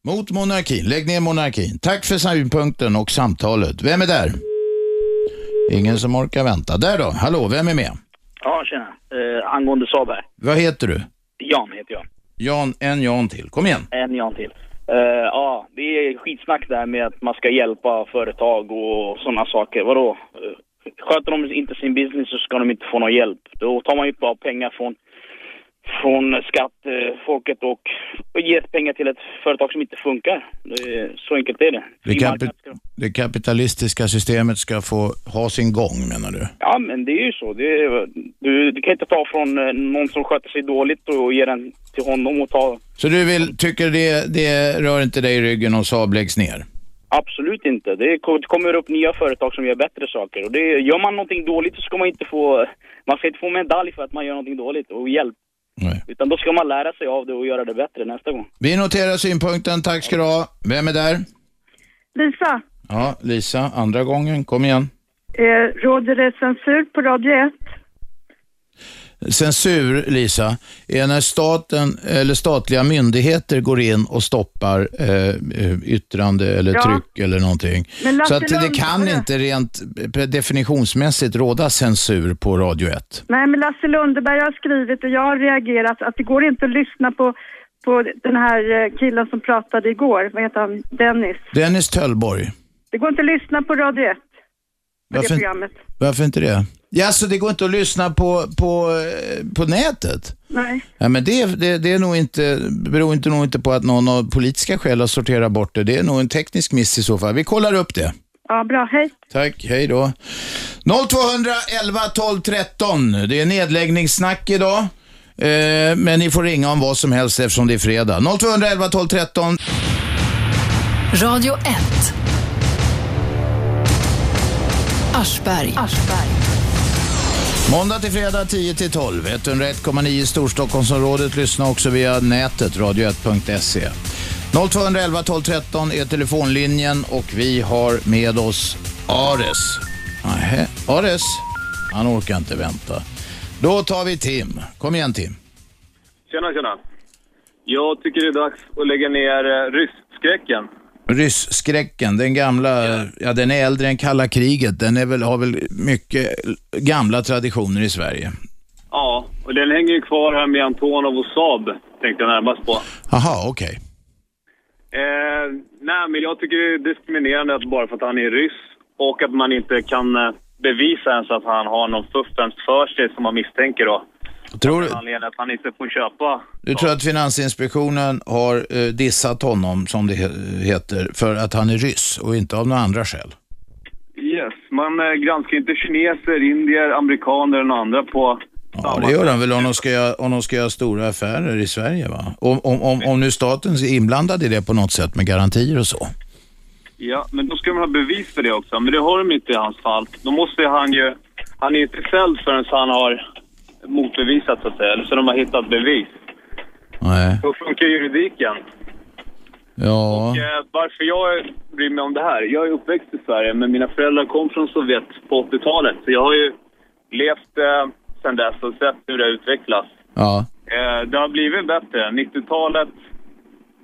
Mot monarkin. Lägg ner monarkin. Tack för synpunkten och samtalet. Vem är där? Ingen som orkar vänta. Där då. Hallå, vem är med? Ja, tjena. Eh, angående Saab här. Vad heter du? Jan heter jag. Jan, en Jan till. Kom igen. En Jan till. Eh, ja, det är skitsnack där med att man ska hjälpa företag och sådana saker. Vadå? Eh, sköter de inte sin business så ska de inte få någon hjälp. Då tar man ju bara pengar från, från skattefolket och, och ger pengar till ett företag som inte funkar. Eh, så enkelt är det. Det, kapi- det kapitalistiska systemet ska få ha sin gång, menar du? Ja, men det är ju så. Det är, du, du kan inte ta från eh, någon som sköter sig dåligt och ge den till honom och ta... Så du vill, tycker det, det rör inte dig i ryggen om Saab läggs ner? Absolut inte. Det ko- det kommer upp nya företag som gör bättre saker. Och det, gör man någonting dåligt så ska man inte få... Man ska inte få medalj för att man gör någonting dåligt och hjälp. Utan då ska man lära sig av det och göra det bättre nästa gång. Vi noterar synpunkten. Tack ska du ha. Vem är där? Lisa, Ja, Lisa, andra gången. Kom igen. eh, råder det censur på Radio 1? Censur, Lisa, är när staten eller statliga myndigheter går in och stoppar eh, eh, yttrande eller Ja. tryck eller någonting. Men Lasse Så att det Lund- kan inte rent eh, definitionsmässigt råda censur på Radio 1. Nej, men Lasse Lundeberg har skrivit och jag har reagerat att det går inte att lyssna på, på den här eh, killen som pratade igår. Vad heter han? Dennis. Dennis Töllborg, Det går inte att lyssna på Radio 1. På det Varför- programmet. varför inte det? Ja, så det går inte att lyssna på, på, eh, på nätet? Nej. Ja, men det, det, det är nog inte, beror inte, nog inte på att någon av politiska skäl har sorterat bort det. Det är nog en teknisk miss i så fall. Vi kollar upp det. Ja, bra. Hej. Tack, hej då. 0211 12 13. Det är nedläggningssnack idag. Eh, men ni får ringa om vad som helst eftersom det är fredag. 0211 12 13. Radio 1. Aschberg. Måndag till fredag 10 till 12. 101,9 i Storstockholmsområdet. Lyssna också via nätet, radio1.se. 0211 12 13 är telefonlinjen och vi har med oss Ares. Nähä, Ares? Han orkar inte vänta. Då tar vi Tim. Kom igen Tim. Tjena, tjena. Jag tycker det är dags att lägga ner eh, rysskräcken. Rysskräcken, den gamla, ja. den är äldre än kalla kriget. Den är väl, har väl mycket gamla traditioner i Sverige. Ja, och den hänger ju kvar här med Antonov och Saab, tänkte jag närmast på. Aha, okej. Eh, nej, men jag tycker det är diskriminerande att bara för att han är ryss och att man inte kan eh, bevisa ens att han har någon fuffens för sig som man misstänker då. Tror du- Anledningen att han inte får köpa. Du tror att Finansinspektionen har eh, dissat honom, som det he- heter, för att han är ryss och inte av några andra skäl? Yes, man eh, granskar inte kineser, indier, amerikaner och andra på... Ja, det gör han väl om de ska göra, om de ska göra stora affärer i Sverige, va? Om, om, om, om nu staten är inblandad i det på något sätt med garantier och så. Ja, men då ska man ha bevis för det också. Men det har de inte i hans fall. Då måste han ju... Han är ju inte fälld förrän han har motbevisat, så att säga. Eller så de har hittat bevis. Nej. Då funkar juridiken. Ja, Eh, Varför jag bryr mig om det här? Jag är uppväxt i Sverige, men mina föräldrar kom från Sovjet på 80-talet. Så jag har ju levt eh, sedan dess och sett hur det har utvecklats. ja. Eh, det har blivit bättre. 90-talet,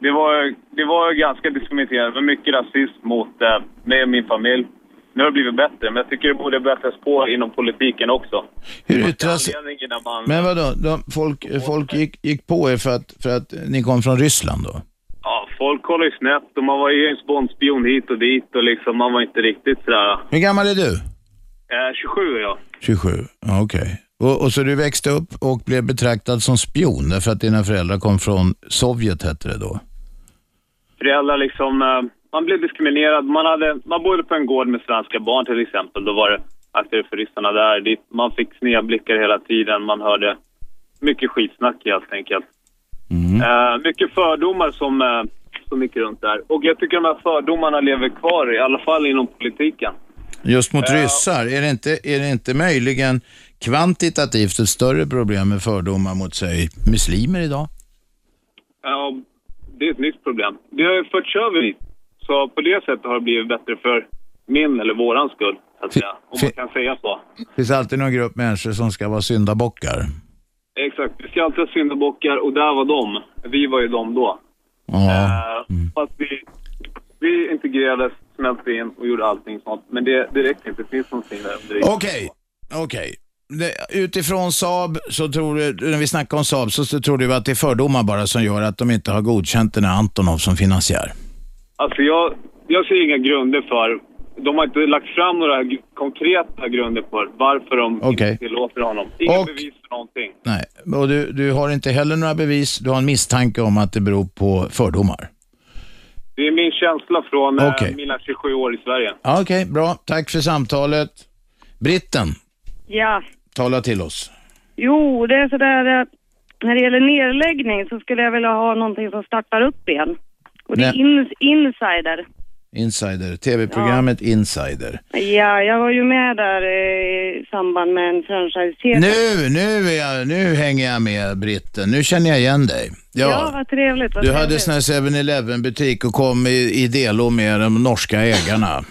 det var, det var ganska diskriminerande. Det var mycket rasism mot eh, mig och min familj. Nu har det blivit bättre, men jag tycker det borde bättras på inom politiken också. Hur yttras... Anledningen när man- Men vadå, de, folk, folk gick, gick på er för att, för att ni kom från Ryssland då? Ja, folk kollar ju snett och man var ju James Bond-spion hit och dit och liksom, man var inte riktigt sådär... Hur gammal är du? Eh, 27 är jag. 27, ja, okej. Och, och så du växte upp och blev betraktad som spion därför att dina föräldrar kom från Sovjet, hette det då? föräldrar liksom eh, man blev diskriminerad. Man, hade, man bodde på en gård med svenska barn till exempel. Då var det akter för ryssarna där. Dit. Man fick sneda blickar hela tiden. Man hörde mycket skitsnack helt enkelt. Eh, mycket fördomar som, eh, som gick runt där. Och jag tycker de här fördomarna lever kvar, i alla fall inom politiken. Just mot ryssar, är det, inte, är det inte möjligen kvantitativt ett större problem med fördomar mot, säg, muslimer idag? Ja, det är ett nytt problem. Det har ju förts över hit. Så på det sättet har det blivit bättre för min eller våran skull, så att säga. Om man kan säga så. finns alltid någon grupp människor som ska vara syndabockar. Exakt. Vi ska alltid ha syndabockar och där var de. Vi var ju de då. Eh, Mm. Fast vi, vi integrerades, smälte in och gjorde allting sånt. Men det, det räcker inte. Det finns någonting där. under ytan. Okej, okej. Det- Utifrån Saab, så tror du, när vi snackade om Saab, så, så tror du att det är fördomar bara som gör att de inte har godkänt den här Antonov som finansiär? Alltså jag, jag ser inga grunder för... De har inte lagt fram några gr- konkreta grunder för varför de Okej. inte tillåter honom. Inga Och- bevis för någonting. Nej, och du, du har inte heller några bevis, du har en misstanke om att det beror på fördomar? Det är min känsla från eh, Okej. mina 27 år i Sverige. Ja, Okej, bra. Tack för samtalet. Britten, Ja, tala till oss. jo, det är sådär att när det gäller nedläggning så skulle jag vilja ha någonting som startar upp igen. Och det är Nej. ins- insider. Insider, tv-programmet Insider. Ja, jag var ju med där eh, i samband med en franchise Nu, nu, är jag, nu hänger jag med Britten, nu känner jag igen dig. Ja, vad trevligt. Vad Du trevligt. hade sån här 7-Eleven-butik och kom i, i delo med de norska ägarna.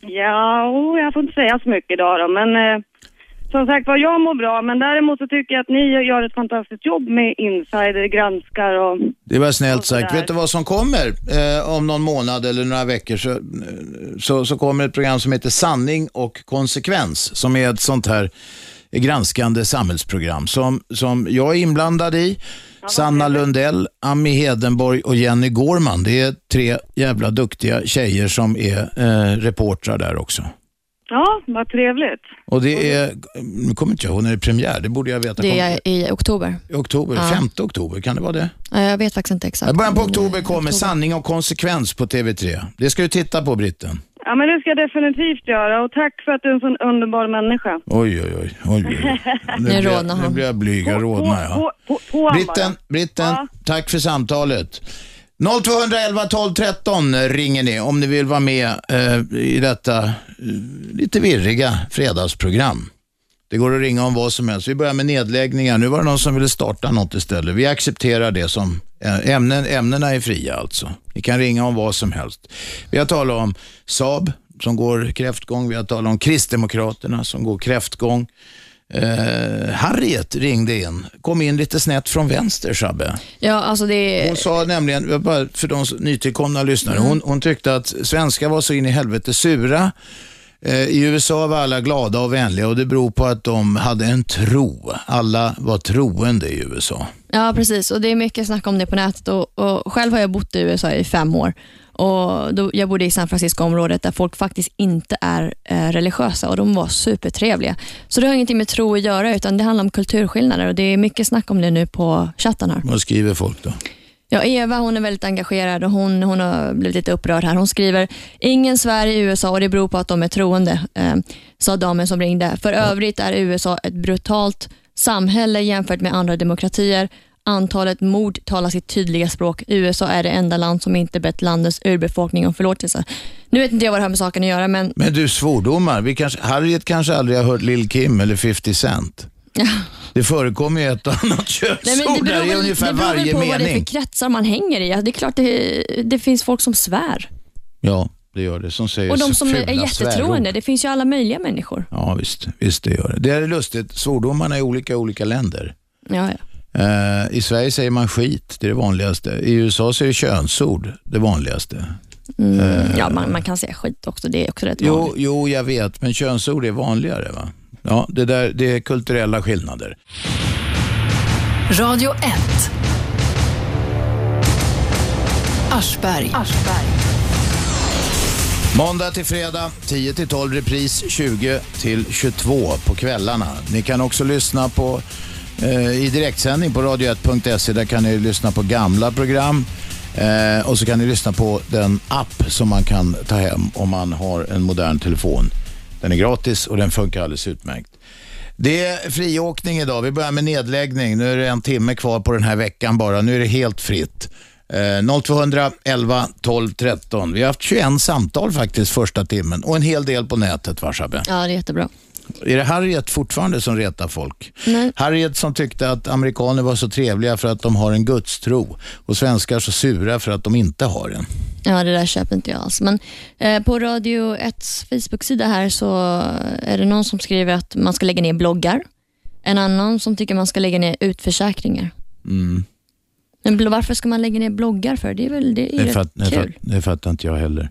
Ja, oh, jag får inte säga så mycket idag då, men eh, som sagt var, jag mår bra, men däremot så tycker jag att ni gör ett fantastiskt jobb med insider, granskar och... Det var snällt sådär. sagt. Vet du vad som kommer eh, om någon månad eller några veckor? Så, eh, så, så kommer ett program som heter Sanning och konsekvens, som är ett sånt här granskande samhällsprogram som, som jag är inblandad i. Sanna Lundell, Ami Hedenborg och Jenny Gorman. Det är tre jävla duktiga tjejer som är eh, reportrar där också. Ja, vad trevligt. Och det är, nu kommer inte jag ihåg när det är premiär, det borde jag veta. Det Kom- är i oktober. I oktober, Ja. 5 oktober, kan det vara det? Ja, Jag vet faktiskt inte exakt. I början på oktober kommer Sanning och konsekvens på TV3. Det ska du titta på, Britten. Ja, men det ska jag definitivt göra och tack för att du är en sån underbar människa. Oj, oj, oj. oj, oj. *laughs* Nu blir jag- rodnar han. Nu blir jag blyg. Jag rodnar, ja. På, på han Britten, Britten tack för samtalet. 0211 12 13 ringer ni om ni vill vara med eh, i detta eh, lite virriga fredagsprogram. Det går att ringa om vad som helst. Vi börjar med nedläggningar. Nu var det någon som ville starta något istället. Vi accepterar det som eh, ämnen, ämnena är fria alltså. Ni kan ringa om vad som helst. Vi har talat om Saab som går kräftgång. Vi har talat om Kristdemokraterna som går kräftgång. Eh, Harriet ringde in. Kom in lite snett från vänster, Shabbe. Ja, alltså det Hon sa nämligen, bara för de nytillkomna lyssnare, Mm. hon, hon tyckte att svenskar var så in i helvete sura. Eh, I USA var alla glada och vänliga och det beror på att de hade en tro. Alla var troende i USA. Ja, precis. Och Det är mycket snack om det på nätet. Och, och själv har jag bott i USA i fem år. Och då, jag bodde i San Francisco-området där folk faktiskt inte är eh, religiösa och de var supertrevliga. Så det har ingenting med tro att göra, utan det handlar om kulturskillnader och det är mycket snack om det nu på chatten här. Vad skriver folk då? Ja, Eva hon är väldigt engagerad och hon, hon har blivit lite upprörd här. Hon skriver, ingen svär i USA och det beror på att de är troende, eh, sa damen som ringde. För övrigt är USA ett brutalt samhälle jämfört med andra demokratier. Antalet mord talar sitt tydliga språk. USA är det enda land som inte bett landets urbefolkning om förlåtelse. Nu vet inte jag vad det har med saken att göra, men Men du, svordomar. Vi kanske, Harriet kanske aldrig har hört Lil Kim eller *laughs* 50 Cent. Det förekommer ju ett och annat Nej, men det könsord beror där i väl, ungefär det beror väl varje på vad det är mening. för kretsar man hänger i. Ja, Det är klart det, det finns folk som svär. Ja, det gör det. Som säger Och de så som är fula svärord. jättetroende. Det finns ju alla möjliga människor. Ja, visst, visst det gör det. Det är lustigt, svordomarna är olika i olika länder. Ja, ja. Eh, I Sverige säger man skit, det är det vanligaste. I USA så är könsord det vanligaste. Mm, Eh, ja man, man kan säga skit också. Det är också rätt Jo, vanligt. jo, jag vet, men könsord är vanligare. va? Ja, det, där, det är kulturella skillnader. Radio 1. Aschberg. Måndag till fredag, 10 till 12 repris, 20 till 22 på kvällarna. Ni kan också lyssna på eh, i direktsändning på radio1.se. Där kan ni lyssna på gamla program. Eh, och så kan ni lyssna på den app som man kan ta hem om man har en modern telefon. Den är gratis och den funkar alldeles utmärkt. Det är friåkning idag. Vi börjar med nedläggning. Nu är det en timme kvar på den här veckan bara. Nu är det helt fritt. Eh, 0200 11 12 13. Vi har haft 21 samtal faktiskt första timmen och en hel del på nätet, va Shabbe? Ja, det är jättebra. Är det Harriet fortfarande som retar folk? Nej. Harriet som tyckte att amerikaner var så trevliga för att de har en gudstro och svenskar så sura för att de inte har en. Ja, det där köper inte jag alls. Men eh, på Radio 1s Facebook-sida här så är det någon som skriver att man ska lägga ner bloggar. En annan som tycker man ska lägga ner utförsäkringar. Mm. Men bl- varför ska man lägga ner bloggar för? Det är väl det är Det, rätt fatt, det, fatt, kul? det fattar inte jag heller.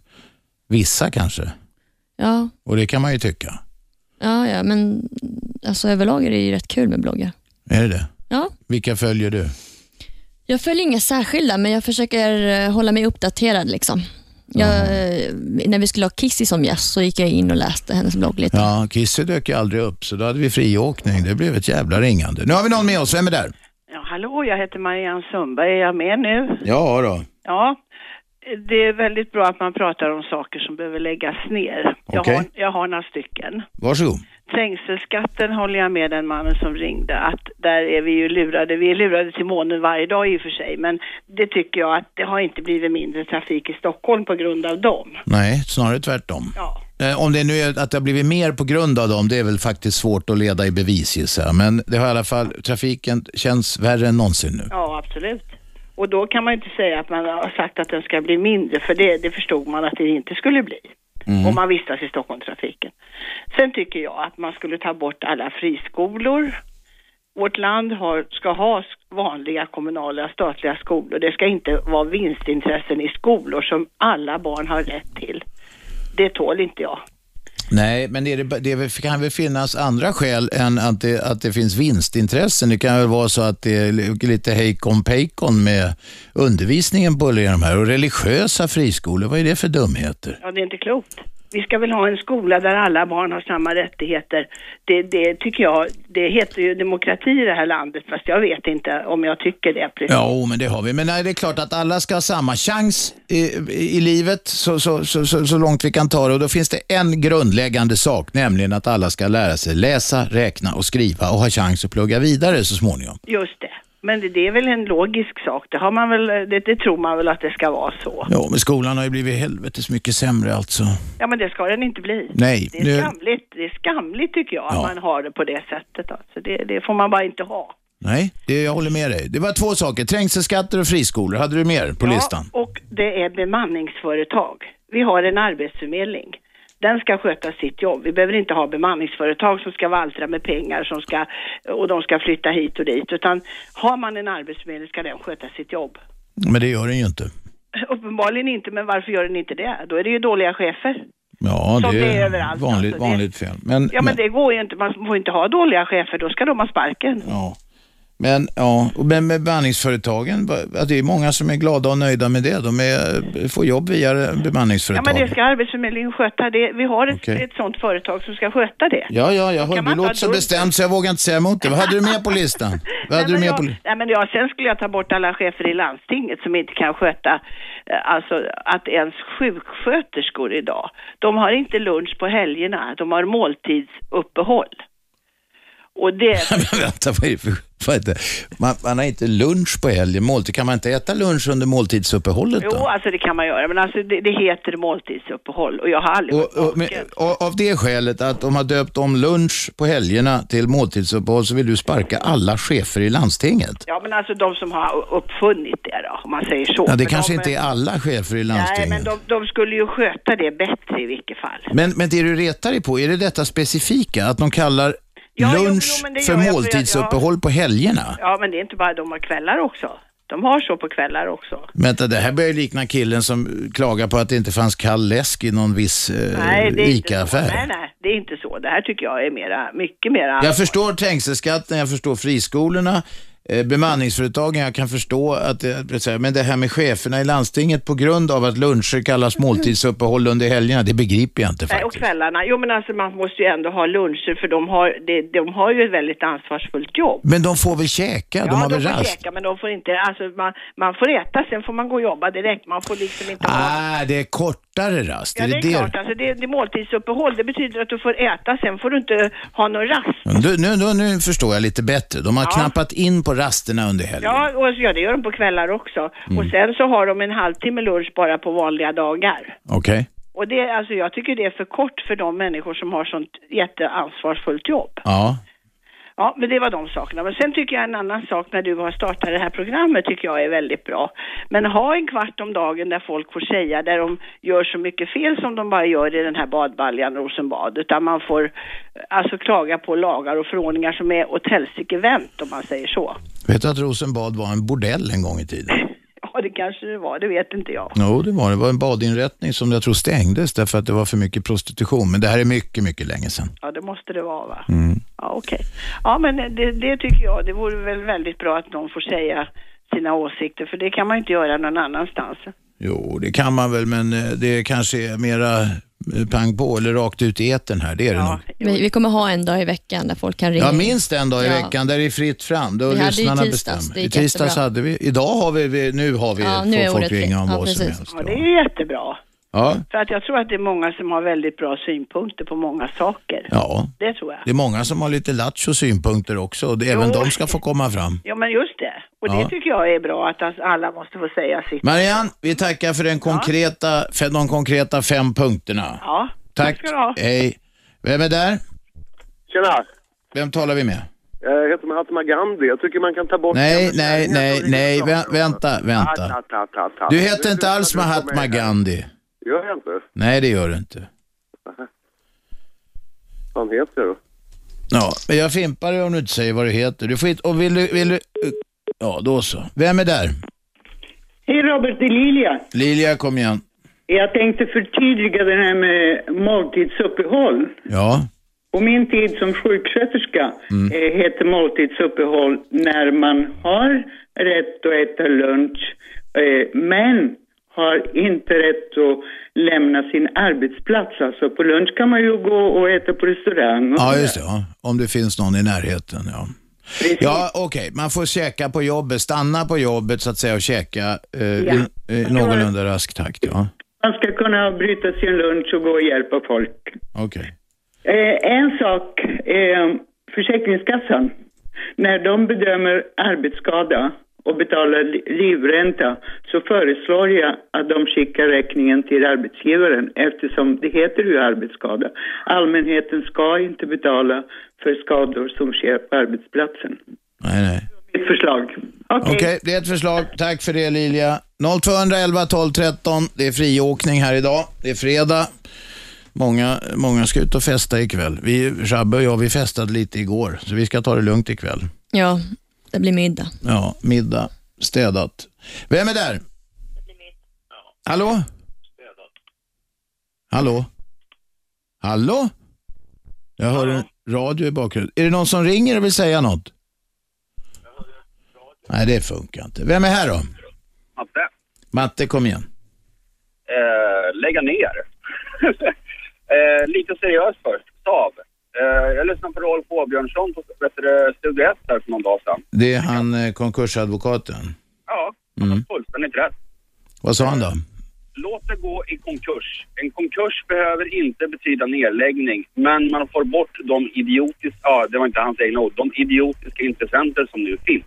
Vissa kanske, Ja, och det kan man ju tycka. ja, ja, men alltså, överlag är det ju rätt kul med bloggar. Är det det? Ja, Vilka följer du? Jag följer inga särskilda, men jag försöker eh, hålla mig uppdaterad. Liksom. Jag, eh, när vi skulle ha Kissy som gäst så gick jag in och läste hennes blogg lite. Ja, Kisse dök ju aldrig upp, så då hade vi friåkning. Det blev ett jävla ringande. Nu har vi någon med oss. Vem är där? Ja, hallå, jag heter Marianne Sundberg. Är jag med nu? Ja då. Ja. Det är väldigt bra att man pratar om saker som behöver läggas ner. Jag, Okej. har, jag har några stycken. Varsågod. Trängselskatten håller jag med den mannen som ringde att där är vi ju lurade. Vi är lurade till månen varje dag i och för sig, men det tycker jag att det har inte blivit mindre trafik i Stockholm på grund av dem. Nej, snarare tvärtom. Eh, Om det nu är att det har blivit mer på grund av dem, det är väl faktiskt svårt att leda i bevis gissar jag. Men det har i alla fall, trafiken känns värre än någonsin nu. Ja, absolut. Och då kan man ju inte säga att man har sagt att den ska bli mindre, för det, det förstod man att det inte skulle bli. om man vistas i Stockholmstrafiken. Sen tycker jag att man skulle ta bort alla friskolor. Vårt land har, ska ha vanliga kommunala statliga skolor. Det ska inte vara vinstintressen i skolor som alla barn har rätt till. Det tål inte jag. Nej, men är det, ba- det är väl- kan väl finnas andra skäl än att det, att det finns vinstintressen. Det kan väl vara så att det är li- lite hejkon pejkon med undervisningen på de här. Och religiösa friskolor, vad är det för dumheter? Ja, det är inte klokt. Vi ska väl ha en skola där alla barn har samma rättigheter. Det, det tycker jag, det heter ju demokrati i det här landet, fast jag vet inte om jag tycker det precis. Ja, men det har vi. Men nej, det är klart att alla ska ha samma chans i, i livet så, så, så, så, så långt vi kan ta det. Och då finns det en grundläggande sak, nämligen att alla ska lära sig läsa, räkna och skriva och ha chans att plugga vidare så småningom. Just det. Men det, det är väl en logisk sak. Det, har man väl, det, det tror man väl att det ska vara så. Ja, men skolan har ju blivit helvetes mycket sämre alltså. Ja, men det ska den inte bli. Nej, Det är nu- skamligt, det är skamligt tycker jag Ja. att man har det på det sättet. Alltså, det, det får man bara inte ha. Nej, det, jag håller med dig. Det var två saker, trängselskatter och friskolor. Hade du mer på ja, listan? och det är bemanningsföretag. Vi har en arbetsförmedling. Den ska sköta sitt jobb. Vi behöver inte ha bemanningsföretag som ska valtra med pengar som ska, och de ska flytta hit och dit. Utan har man en arbetsförmedling ska den sköta sitt jobb. Men det gör den ju inte. Uppenbarligen inte, men varför gör den inte det? Då är det ju dåliga chefer. Ja, Som det det är är överallt, vanligt, alltså. Det- vanligt fel. Men, Ja, men det går ju inte. Man får inte ha dåliga chefer, då ska de ha sparken. Ja. Men ja, och men med bemanningsföretagen, va- att det är många som är glada och nöjda med det. De är, får jobb via Ja, men bemanningsföretagen. det ska Arbetsförmedlingen sköta. Det, vi har ett, Okej. ett sånt företag som ska sköta det. Ja, ja, jag hör, man du inte ha låter så dubbel- bestämt så jag vågar inte säga emot det. Vad hade du med på listan? *laughs* Vad hade Nej, du men med på *laughs* jag, listan? nej, men jag, sen skulle jag ta bort alla chefer i landstinget som inte kan sköta, eh, alltså att ens sjuksköterskor idag, de har inte lunch på helgerna, de har måltidsuppehåll. Och det, Men vänta, vad är det för... Vad är det? Man, man har inte lunch på helgen, måltid. Kan man inte äta lunch under måltidsuppehållet jo då? alltså det kan man göra, men alltså det, det heter måltidsuppehåll och jag har aldrig Och, och, men, och, av det skälet att de har döpt om lunch på helgerna till måltidsuppehåll så vill du sparka alla chefer i landstinget. Ja, men alltså de som har uppfunnit det då, om man säger så. Ja, det För kanske de, inte är alla chefer i Nej, landstinget. men de, de skulle ju sköta det bättre i vilket fall. Men, men det du retar dig på, är det detta specifika? Att de kallar lunch jo, men det för gör jag, för jag- måltidsuppehåll på helgerna? Ja, men det är inte bara de har kvällar också. De har så på kvällar också. Vänta, det här börjar ju likna killen som klagar på att det inte fanns kall läsk i någon viss nej, eh, det är inte så. Nej, ICA-affär. nej, det är inte så. Det här tycker jag är mera, mycket mera... Jag förstår trängselskatten, jag förstår friskolorna. eh, bemanningsföretagen, jag kan förstå att det, så här, men det här med cheferna i landstinget på grund av att luncher kallas måltidsuppehåll under helgerna, det begriper jag inte. Nej, och kvällarna. Jo, men alltså man måste ju ändå ha luncher för de har, de, de har ju ett väldigt ansvarsfullt jobb. Men de får väl käka? de har väl får rast? käka, men de får inte, alltså man, man får äta, sen får man gå och jobba direkt. Man får liksom inte ha... Ah, det är kortare rast. Ja, det är klart. Alltså, det, det är måltidsuppehåll. Det betyder att du får äta, sen får du inte ha någon rast. Du, nu, nu, nu förstår jag lite bättre. De har knappat in på rasterna under helgen. Ja, och, ja, det gör de på kvällar också. Mm. Och sen så har de en halvtimme lunch bara på vanliga dagar. Okej. Och det, alltså jag tycker det är för kort för de människor som har sånt jätteansvarsfullt jobb. Ja. Ja, men det var de sakerna. Men sen tycker jag en annan sak när du har startat det här programmet tycker jag är väldigt bra. Men ha en kvart om dagen där folk får säga, där de gör så mycket fel som de bara gör i den här badbaljan Rosenbad. Utan man får eh, alltså klaga på lagar och förordningar som är åt helsike vänt om man säger så. Vet du att Rosenbad var en bordell en gång i tiden? Ja, det kanske det var, det vet inte jag. Jo, det var det. Det var en badinrättning som jag tror stängdes därför att det var för mycket prostitution. Men det här är mycket, mycket länge sedan. Ja, det måste det vara va? Mm. Ja, okej. Ja, men det, det tycker jag, det vore väl väldigt bra att någon får säga sina åsikter, för det kan man ju inte göra någon annanstans. Jo, det kan man väl, men eh, det kanske är mera eh, pang på eller rakt ut i etern här. Det är det nog. Vi, vi kommer ha en dag i veckan där folk kan ringa. Ja, in. minst en dag i Ja. veckan där det är fritt fram. Då Vi hade ju lyssnarna tisdags, bestämmer. det I gick tisdags jättebra. hade vi, idag har vi- vi, nu har vi, Ja, nu är får folk ordet fritt. ringa om Ja, vad som precis. helst. Ja, det är ju jättebra. Ja, För att jag tror att det är många som har väldigt bra synpunkter på många saker. ja. Det tror jag. Det är många som har lite lattjo synpunkter också och det, även de ska få komma fram. Ja, men just det. Och det Ja. tycker jag är bra, att alltså alla måste få säga sitt. Marianne, vi tackar för den konkreta, för de konkreta fem punkterna. Ja, Tack. ska du ha. Hej. Vem är där? Tjena! Vem talar vi med? Eh, Jag heter Mahatma Gandhi. Jag tycker man kan ta bort... Nej, nej, nej, nej, vä vänta, Ah, vänta. ta, ta, ta, ta. Du heter inte alls Mahatma Gandhi. Gör jag inte? Nej, det gör du inte. Vad fan heter jag då? Ja, men jag fimpar dig om du inte säger vad du heter. Du får inte, och vill du, vill du, ja då så. Vem är där? Hej Robert, det är Lilja. Lilia, kom igen. Jag tänkte förtydliga det här med måltidsuppehåll. Ja, Och min tid som sjuksköterska Mm. eh, heter måltidsuppehåll när man har rätt att äta lunch eh, men har inte rätt att lämna sin arbetsplats. Alltså på lunch kan man ju gå och äta på restaurang. ja just det. Ja. Om det finns någon i närheten, ja. Ja, okej. Man får käka på jobbet, stanna på jobbet så att säga och käka eh, i, i någorlunda rask takt. Ja, Man ska kunna bryta sin lunch och gå och hjälpa folk. okej. Eh, en sak, eh, Försäkringskassan, när de bedömer arbetsskada och betalar li- livränta så föreslår jag att de skickar räkningen till arbetsgivaren eftersom det heter ju arbetsskada. Allmänheten ska inte betala för skador som sker på arbetsplatsen. Nej, nej. Mitt förslag. Okej, det är ett förslag. Tack för det Lilja. 0211 12 13. Det är friåkning här idag. Det är fredag. Många, många ska ut och festa ikväll. Vi, Shabbe och jag, vi festade lite igår, så vi ska ta det lugnt ikväll. Ja, det blir middag. Ja, middag, städat. Vem är där? Hallå? Hallå? Hallå? Jag hör en radio i bakgrunden. Är det någon som ringer och vill säga något? Nej, det funkar inte. Vem är här då? Matte, Matte, kom igen. eh, lägga ner. *laughs* eh, lite seriöst först, Saab. Eh, jag lyssnade på Rolf Åbjörnsson på vet du det, Studio 1 här för någon dag sedan. Det är han eh, konkursadvokaten. Ja, Mm. fullständigt rätt. Vad sa han då? Låt det gå i konkurs. En konkurs behöver inte betyda nedläggning, men man får bort de idiotiska, ja det var inte hans egna ord, de idiotiska intressenter som nu finns.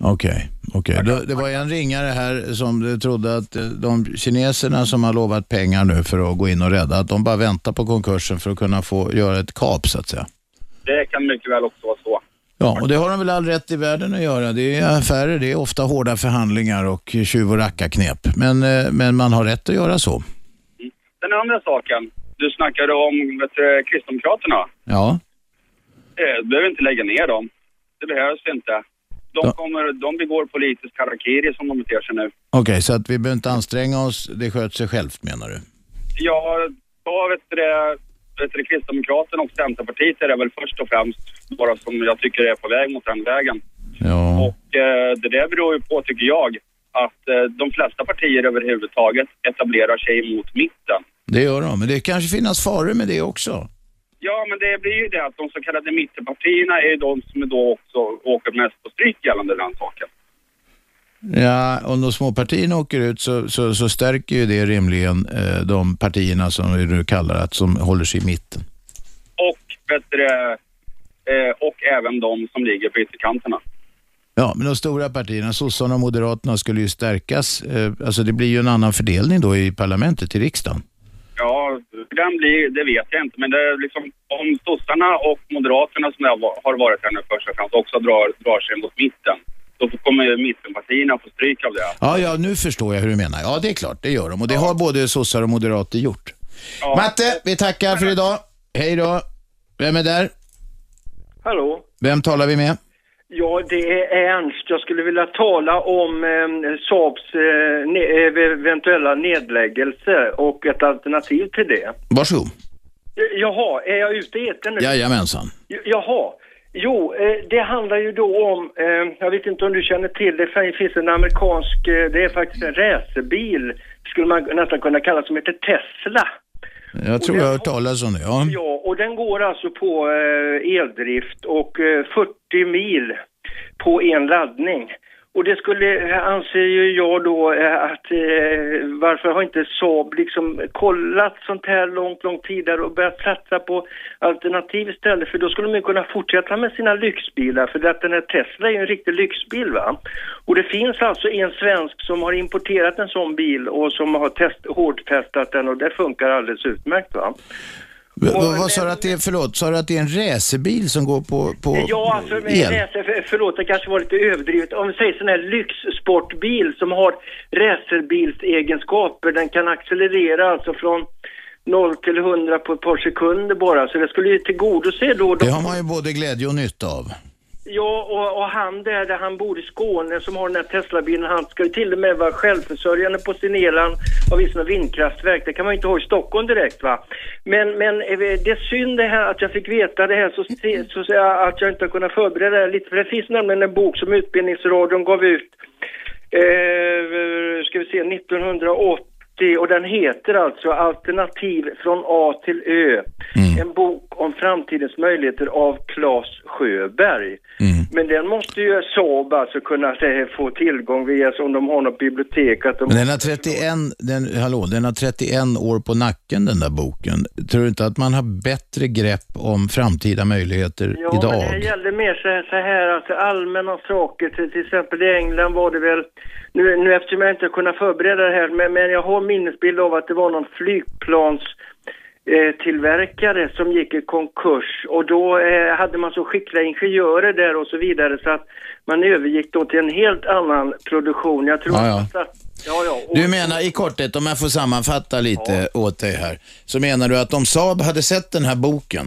Okej, okej. Då- Det var en ringare här som trodde att eh, de kineserna som har lovat pengar nu för att gå in och rädda, att de bara väntar på konkursen för att kunna få göra ett kap så att säga. Det kan mycket väl också vara så. Ja, och det har de väl all rätt i världen att göra. Det är affärer, det är ofta hårda förhandlingar och tjuv och rackarknep. Men, eh, men man har rätt att göra så. Den andra saken, du snackade om vet du, Kristdemokraterna. Ja, Eh, Du behöver inte lägga ner dem. Det behövs inte. De, kommer, de begår politisk harakiri som de beter sig nu. okej, så att vi behöver inte anstränga oss. Det sköter sig självt menar du? Jag ta vet du, det- vet du, det, Kristdemokraterna och Centerpartiet är det väl först och främst bara som jag tycker är på väg mot den vägen. Ja. Och eh, det där beror ju på, tycker jag, att eh, de flesta partier överhuvudtaget etablerar sig mot mitten. Det gör de, men det kanske finns faror med det också. Ja, men det blir ju det att de så kallade mittenpartierna är ju de som då också åker mest på stryk gällande den saken. Ja, om de små partierna åker ut så, så, så stärker ju det rimligen eh, de partierna som du kallar att som håller sig i mitten. Och, bättre, eh, och även de som ligger på ytterkanterna. Ja, men de stora partierna, sossarna och moderaterna, skulle ju stärkas. Eh, alltså det blir ju en annan fördelning då i parlamentet, i riksdagen. Ja, hur den blir, det vet jag inte. Men det är liksom, om sossarna och moderaterna som jag har varit här nu första chans också drar, drar sig mot mitten, då kommer ju mittenpartierna få stryk av det. Ja, ja, nu förstår jag hur du menar. Ja, det är klart, det gör de. Och det har både sossar och moderater gjort. Matte, vi tackar för idag. Hej då. Vem är där? Hallå? Vem talar vi med? Ja, det är Ernst. Jag skulle vilja tala om eh, Saabs eh, ne- eh, eventuella nedläggelse och ett alternativ till det. Varsågod. Eh, Jaha, är jag ute i etern nu? Jajamensan. J- Jaha. Jo, eh, det handlar ju då om, eh, jag vet inte om du känner till det, fin- finns en amerikansk, eh, det är faktiskt en racerbil, skulle man nästan kunna kalla som heter Tesla. Jag tror jag har hört talas om det. Ja. Ja, och den går alltså på eh, eldrift och eh, 40 mil på en laddning. Och det skulle, eh, anser ju jag då, eh, att eh, varför har inte Saab liksom kollat sånt här långt, långt tidigare och börjat satsa på alternativ istället? För då skulle de ju kunna fortsätta med sina lyxbilar, för att den här Tesla är ju en riktig lyxbil va? Och det finns alltså en svensk som har importerat en sån bil och som har test, hårdtestat den och det funkar alldeles utmärkt va? V- vad- vad sa du att det är, förlåt, sa du att det är en racerbil som går på, på Ja, alltså, men el? racer- för, förlåt, det kanske var lite överdrivet. Om vi säger sån här lyxsportbil som har racerbilsegenskaper, den kan accelerera alltså från 0 till 100 på ett par sekunder bara, så det skulle ju tillgodose då... Det har man ju både glädje och nytta av. Ja, och, och han där, där han bor i Skåne som har den här Teslabilen, han ska ju till och med vara självförsörjande på sin el. Han har visst något vindkraftverk, det kan man ju inte ha i Stockholm direkt va. Men, men eh, det är synd det här att jag fick veta det här så, Mm. se- så, så att jag inte har kunnat förbereda det här lite. För det finns nämligen en bok som Utbildningsradion gav ut, eh, ska vi se, 1980 och den heter alltså Alternativ från A till Ö. Mm. En bok om framtidens möjligheter av Claes Sjöberg. Mm. Men den måste ju Saab alltså kunna eh, få tillgång via, så om de har något bibliotek. Att de... Men den har, 31, den, hallå, den har 31 år på nacken den där boken. Tror du inte att man har bättre grepp om framtida möjligheter Ja, men det här idag? gäller mer så här, så här alltså allmänna saker. Till, till exempel i England var det väl, nu, nu eftersom jag inte har kunnat förbereda det här, men, men jag har minnesbild av att det var någon flygplans eh, tillverkare som gick i konkurs och då eh, hade man så skickliga ingenjörer där och så vidare så att man övergick då till en helt annan produktion. Jag tror Ja, ja. att man satt, ja, ja, Du menar i korthet, om jag får sammanfatta lite åt dig här, så menar du att om Saab hade sett den här boken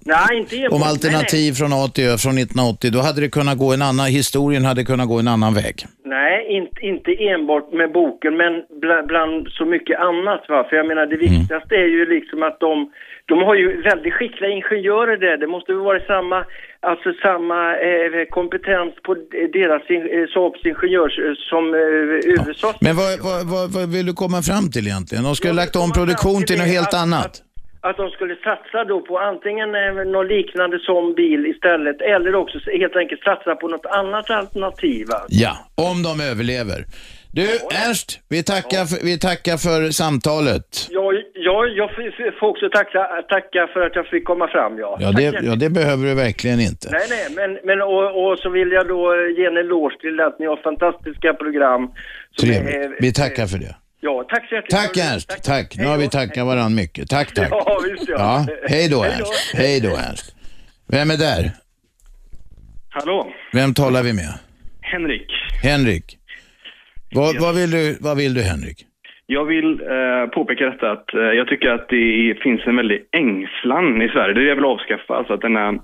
Nej, inte enbart. om Nej, alternativ från A till Ö från 1980, då hade det kunnat gå en annan, historien hade kunnat gå en annan väg. Nej, inte, inte enbart med boken, men bland, bland så mycket annat. Va? För jag menar, det Mm. viktigaste är ju liksom att de, de har ju väldigt skickliga ingenjörer där. Det måste väl vara samma, alltså samma eh, kompetens på deras, in- eh, Saabs ingenjörs eh, som eh, USAs. Men vad, vad, vad, vad vill du komma fram till egentligen? De skulle ha lagt om produktion till något helt annat. Att de skulle satsa då på antingen eh, någon liknande som bil istället, eller också helt enkelt satsa på något annat alternativ. Va? Ja, om de överlever. Du, Ernst, vi tackar, för, vi tackar för samtalet. Ja, ja, jag f- f- får också tacka, tacka för att jag fick komma fram. Ja, Ja Tack det, så ja, det behöver du verkligen inte. Nej, nej, men, men och, och så vill jag då eh, ge en eloge till att ni har fantastiska program. som Trevligt. är- Vi tackar för det. Ja, tack så jättemycket. Tack Ernst, tack. Nu har vi tackat varandra mycket. Tack, tack. Ja, visst, ja. Ja, hej då Ernst. Hej då Ernst. Vem är där? Hallå, Vem talar vi med? Henrik. Henrik. Vad, vad, vill, du, vad vill du Henrik? Jag vill eh, påpeka detta att eh, jag tycker att det finns en väldig ängslan i Sverige. Det är det jag vill avskaffa. Alltså att denna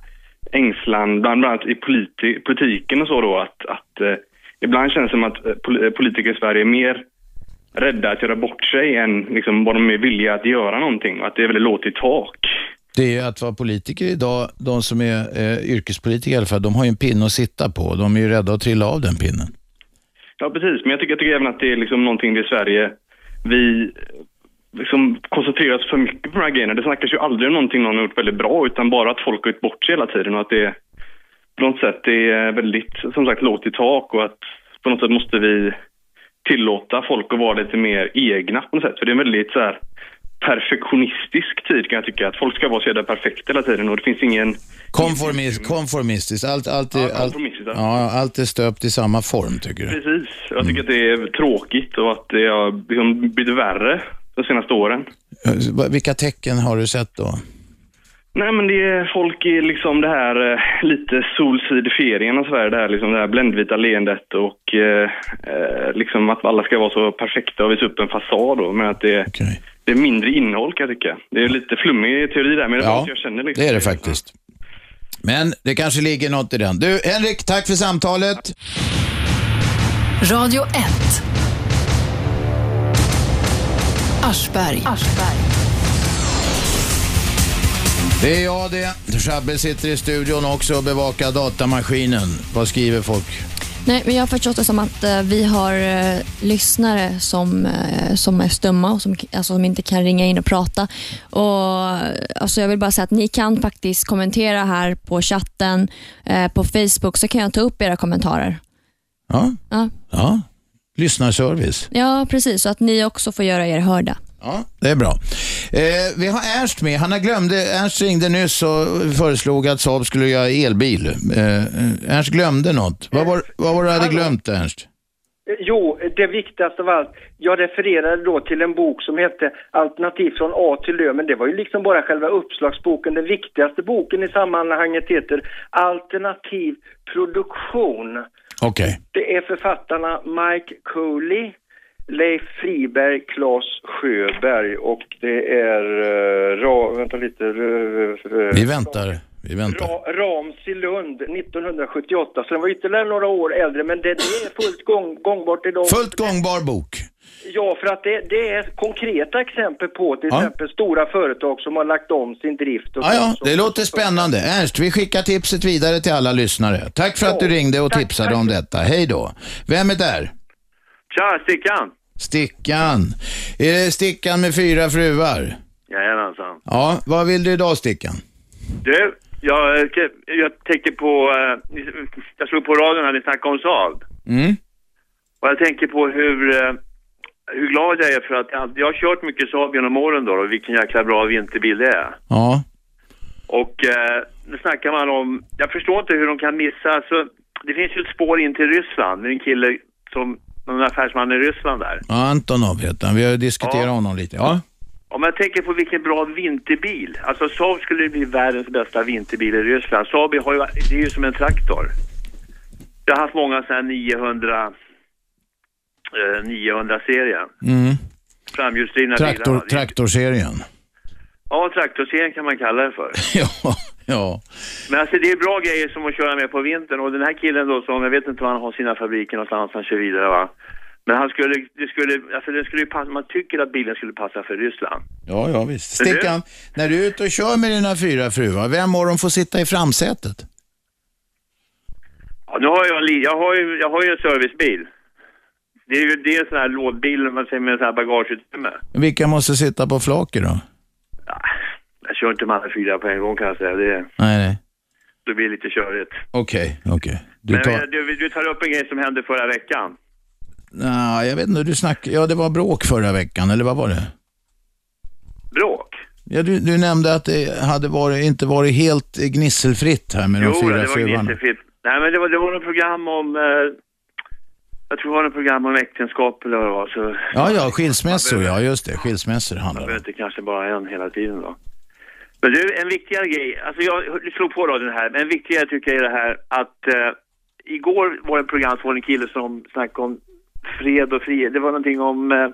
ängslan, bland bland annat i politi- politiken och så då, att, att eh, ibland känns det som att eh, pol- eh, politiker i Sverige är mer rädda att göra bort sig än liksom, vad de är villiga att göra någonting. Att det är väldigt lågt i tak. Det är ju att vara politiker idag, de som är eh, yrkespolitiker i alla fall, de har ju en pinne att sitta på. De är ju rädda att trilla av den pinnen. Ja, precis. Men jag tycker, jag tycker även att det är liksom någonting i Sverige vi liksom koncentrerar oss för mycket på de här grejerna. Det snackas ju aldrig om någonting någon har gjort väldigt bra utan bara att folk har gjort bort sig hela tiden och att det på något sätt är väldigt, som sagt, lågt i tak och att på något sätt måste vi tillåta folk att vara lite mer egna på något sätt. För det är en väldigt så här perfektionistisk tid kan jag tycka. Att folk ska vara så jävla perfekta hela tiden och det finns ingen... Konformist, konformistiskt, allt, allt, Mm. Ja, är, allt, kompromisser. ja, allt är stöpt i samma form tycker du? Precis. Jag tycker att det är tråkigt och att det har liksom blivit värre de senaste åren. Eh, Vilka tecken har du sett då? Nej men det är folk i liksom det här eh, lite solsidifieringen av Sverige, det här, liksom det här bländvita leendet och eh, eh, liksom att alla ska vara så perfekta och visa upp en fasad då, men att det, det är mindre innehåll kan jag tycka. Det är lite flummig teori där men det är Ja, bara att jag känner liksom. Det är det faktiskt. Men det kanske ligger något i den. Du, Henrik, tack för samtalet. Radio 1. Aschberg. Det är jag det. Shabbe sitter i studion också och bevakar datamaskinen. Vad skriver folk? Nej, men jag har förstått det som att eh, vi har eh, lyssnare som, eh, som är stumma och som, alltså, som inte kan ringa in och prata. Och, alltså, jag vill bara säga att ni kan faktiskt kommentera här på chatten, eh, på Facebook, så kan jag ta upp era kommentarer. Ja, Ja, ja. lyssnarservice. ja precis. Så att ni också får göra er hörda. Ja, det är bra. Eh, vi har Ernst med. Han har glömde, Ernst ringde nyss och föreslog att Saab skulle göra elbil. Eh, Ernst glömde något. Vad var, vad var det du hade glömt, Ernst? Eh, Jo, det viktigaste av allt. Jag refererade då till en bok som hette Alternativ från A till Ö, men det var ju liksom bara själva uppslagsboken. Den viktigaste boken i sammanhanget heter Alternativ produktion. Okej. Det är författarna Mike Cooley, Leif Friberg, Claes Sjöberg och det är... eh, ra, vänta lite. Vi väntar. Vi väntar. Ra- Ramsey Lund 1978, så den var ytterligare några år äldre, men det, det är fullt gång, gångbart idag. Fullt gångbar bok. Ja, för att det, det är konkreta exempel på till Ja. exempel stora företag som har lagt om sin drift. Och Ja, ja, sånt som- det låter spännande. Ernst, vi skickar tipset vidare till alla lyssnare. Tack för att du ringde och tipsade om detta. Hej då. Vem är där? Tja, Stickan! Stickan. Är det Stickan med fyra fruar? Jajamensan. Ja, vad vill du idag Stickan? Du, jag, eh, jag tänker på... eh, ni- Jag slog på radion här, ni snackade om Saab. Mm. Och jag tänker på hur, eh, hur glad jag är för att jag, jag har kört mycket Saab genom åren då, och vilken jäkla bra vinterbil det är. Ja. Och eh, nu snackar man om... Jag förstår inte hur de kan missa... Alltså, det finns ju ett spår in till Ryssland med en kille som... Någon affärsman i Ryssland där. Ja, Antonov heter han. Vi har ju diskuterat honom lite. Ja. Om jag tänker på vilken bra vinterbil. Alltså Saab skulle bli världens bästa vinterbil i Ryssland. Saab har ju, det är ju som en traktor. Jag har haft många sådana här 900, eh, 900-serien. Mm. Framhjulsdrivna bilar. Traktor, traktorserien. Ja, traktorserien kan man kalla det för. *laughs* ja, ja. Men alltså det är bra grejer som att köra med på vintern. Och den här killen då som, jag vet inte var han har sina fabriker någonstans han kör vidare va. Men han skulle, det skulle, alltså den skulle ju passa, man tycker att bilen skulle passa för Ryssland. Ja, ja visst. Men du- Stickan, när du är ute och kör med dina fyra fruar, vem av dem får sitta i framsätet? Ja, nu har jag, en li- jag, har ju, jag har ju en servicebil. Det är ju det är en sån här lådbil man säger med en sån här bagageutrymme. Vilka måste sitta på flaket då? Jag kör inte med alla fyra på en gång kan jag säga. Det, Nej, nej. det blir lite körigt. Okej, okej. Du Men tar... eh, du, du tar upp en grej som hände förra veckan. Nej, jag vet inte, du snack... Ja, det var bråk förra veckan, eller vad var det? Bråk? Ja, du, du nämnde att det hade varit, inte varit helt eh, gnisselfritt här med de jo, fyra det var fruarna. gnisselfritt. Nej, men det var, det var något program om... Eh, jag tror det var något program om äktenskap eller vad det var. Så Ja, ja, skilsmässor, ja just det. Skilsmässor man handlar det behöver inte kanske bara en hela tiden då. Men du, en viktigare grej, alltså jag slog på radion här, men en viktigare tycker jag är det här att eh, igår var det en program från en kille som snackade om fred och frihet, det var någonting om, eh,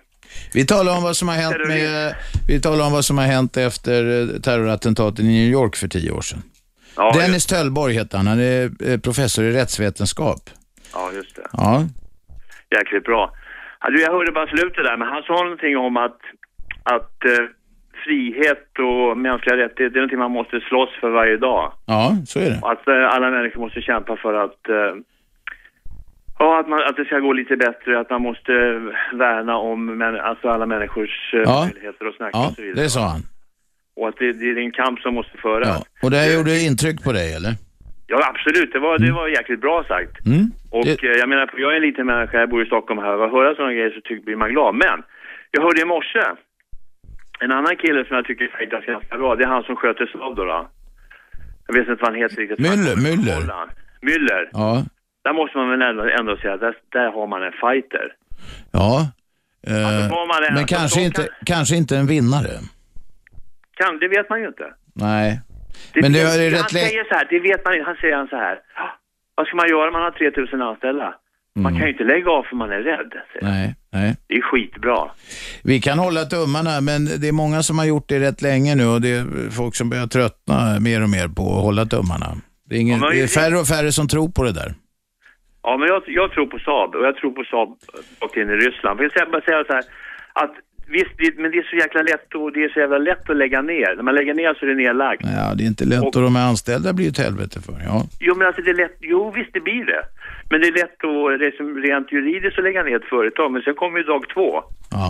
Vi talar om vad som har hänt med, vi talar om vad som har hänt efter eh, terrorattentaten i New York för tio år sedan. Ja, Dennis Töllborg heter han, han är eh, professor i rättsvetenskap. ja just det, Ja, jäkligt bra. Ja, du, jag hörde bara slutet där, men han sa någonting om att, att eh, frihet och mänskliga rättigheter, det är någonting man måste slåss för varje dag. Ja, så är det. Att eh, alla människor måste kämpa för att eh, Ja, att, man, att det ska gå lite bättre, att man måste eh, värna om män, alltså alla människors eh, Ja. möjligheter att snacka Ja, och så vidare. det sa han. Och att det, det är en kamp som måste föras. Ja. Ja. Och det här gjorde intryck på dig, eller? absolut. Det var, det var jäkligt bra sagt. Mm. Och eh, jag menar, jag är en liten människa, jag bor i Stockholm här. Att höra sådana grejer så tycker, blir man glad. Men, jag hörde i morse, en annan kille som jag tycker fightas ganska bra, det är han som sköter Saab då, då. Jag vet inte vad han heter riktigt. Müller, Müller. Müller. Ja, Där måste man väl ändå, ändå säga, där, där har man en fighter. ja. Eh, får man det- men alltså, kanske de inte, kanske inte en vinnare. Kan, det vet man ju inte. Nej. Men det är han rätt lätt. säger så här, det vet man inte. Han säger han så här, "Ah, vad ska man göra om man har 3000 anställda? Mm. Man kan ju inte lägga av för man är rädd. säger han. Nej, nej. Det är skitbra. Vi kan hålla tummarna, men det är många som har gjort det rätt länge nu och det är folk som börjar tröttna mer och mer på att hålla tummarna. Det är, ingen, Ja, men- det är färre och färre som tror på det där. Ja, men jag, jag tror på Saab och jag tror på Saab och in i Ryssland. För jag ska bara säga så här, att visst, det, men det är så jäkla lätt och det är så jävla lätt att lägga ner. När man lägger ner så är det nedlagt. Ja, det är inte lätt och, de här anställda blir ju ett helvete för. Ja. Jo, men alltså det är lätt. Jo, visst det blir det. Men det är lätt att liksom, rent juridiskt att lägga ner ett företag, men sen kommer ju dag två. Ja.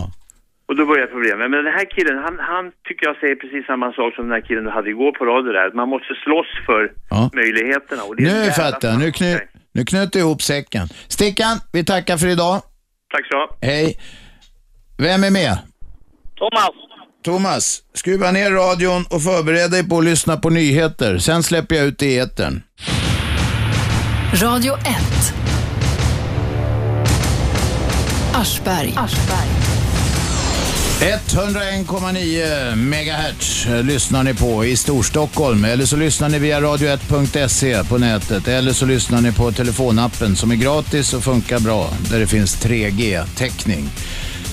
Och då börjar problemen. Men den här killen, han, han tycker jag säger precis samma sak som den här killen du hade igår på radio där. Att man måste slåss för möjligheterna. Och det är en Nu jävla- fattar jag, nu, kny, nu knöt du ihop säcken. Stickan, vi tackar för idag. Tack så. Hej. Vem är med? Thomas, Thomas, skruva ner radion och förbered dig på att lyssna på nyheter. Sen släpper jag ut det i etern. Radio 1. Aschberg. 101,9 megahertz eh, lyssnar ni på i Storstockholm eller så lyssnar ni via radio1.se på nätet eller så lyssnar ni på telefonappen som är gratis och funkar bra där det finns 3G-täckning.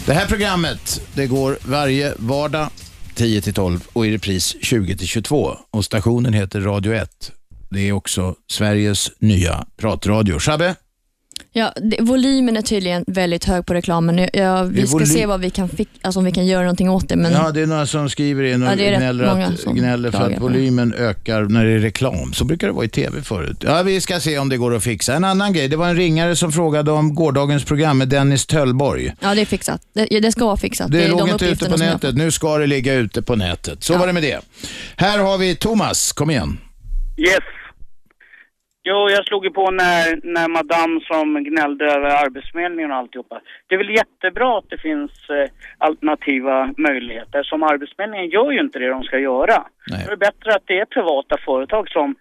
Det här programmet det går varje vardag 10 till 12 och i repris 20 till 22 och stationen heter Radio 1. Det är också Sveriges nya pratradio. Shabbe? Ja, det, volymen är tydligen väldigt hög på reklamen. Jag, jag, Det är vi ska volym- se vad vi kan fi- alltså, om vi kan göra någonting åt det. Men Ja, det är några som skriver in och Ja, det är rätt gnäller, många att, som gnäller för klagar att på det. volymen ökar när det är reklam. Så brukar det vara i tv förut. Ja, vi ska se om det går att fixa. En annan grej, det var en ringare som frågade om gårdagens program med Dennis Töllborg. ja, det är fixat. Det, det ska vara fixat. Det, är låg de inte ute uppgifterna på som jag- nätet, nu ska det ligga ute på nätet. Så var det med det. Här har vi Thomas, kom igen. Yes. Jo, jag slog ju på när, när madame som gnällde över arbetsförmedlingen och alltihopa. Det är väl jättebra att det finns eh, alternativa möjligheter. Som arbetsförmedlingen gör ju inte det de ska göra. Då är det bättre att det är privata företag som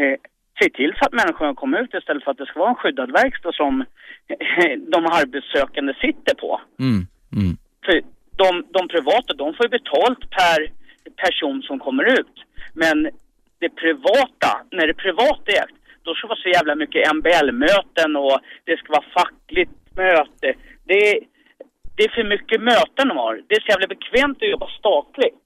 eh, ser till så att människorna kommer ut istället för att det ska vara en skyddad verkstad som eh, de arbetssökande sitter på. Mm. För de, de privata, de får ju betalt per person som kommer ut. Men det privata, när det är privat ägt, då ska det vara så jävla mycket MBL-möten och det ska vara fackligt möte. Det är, det är för mycket möten de har. Det är så jävla bekvämt att jobba statligt.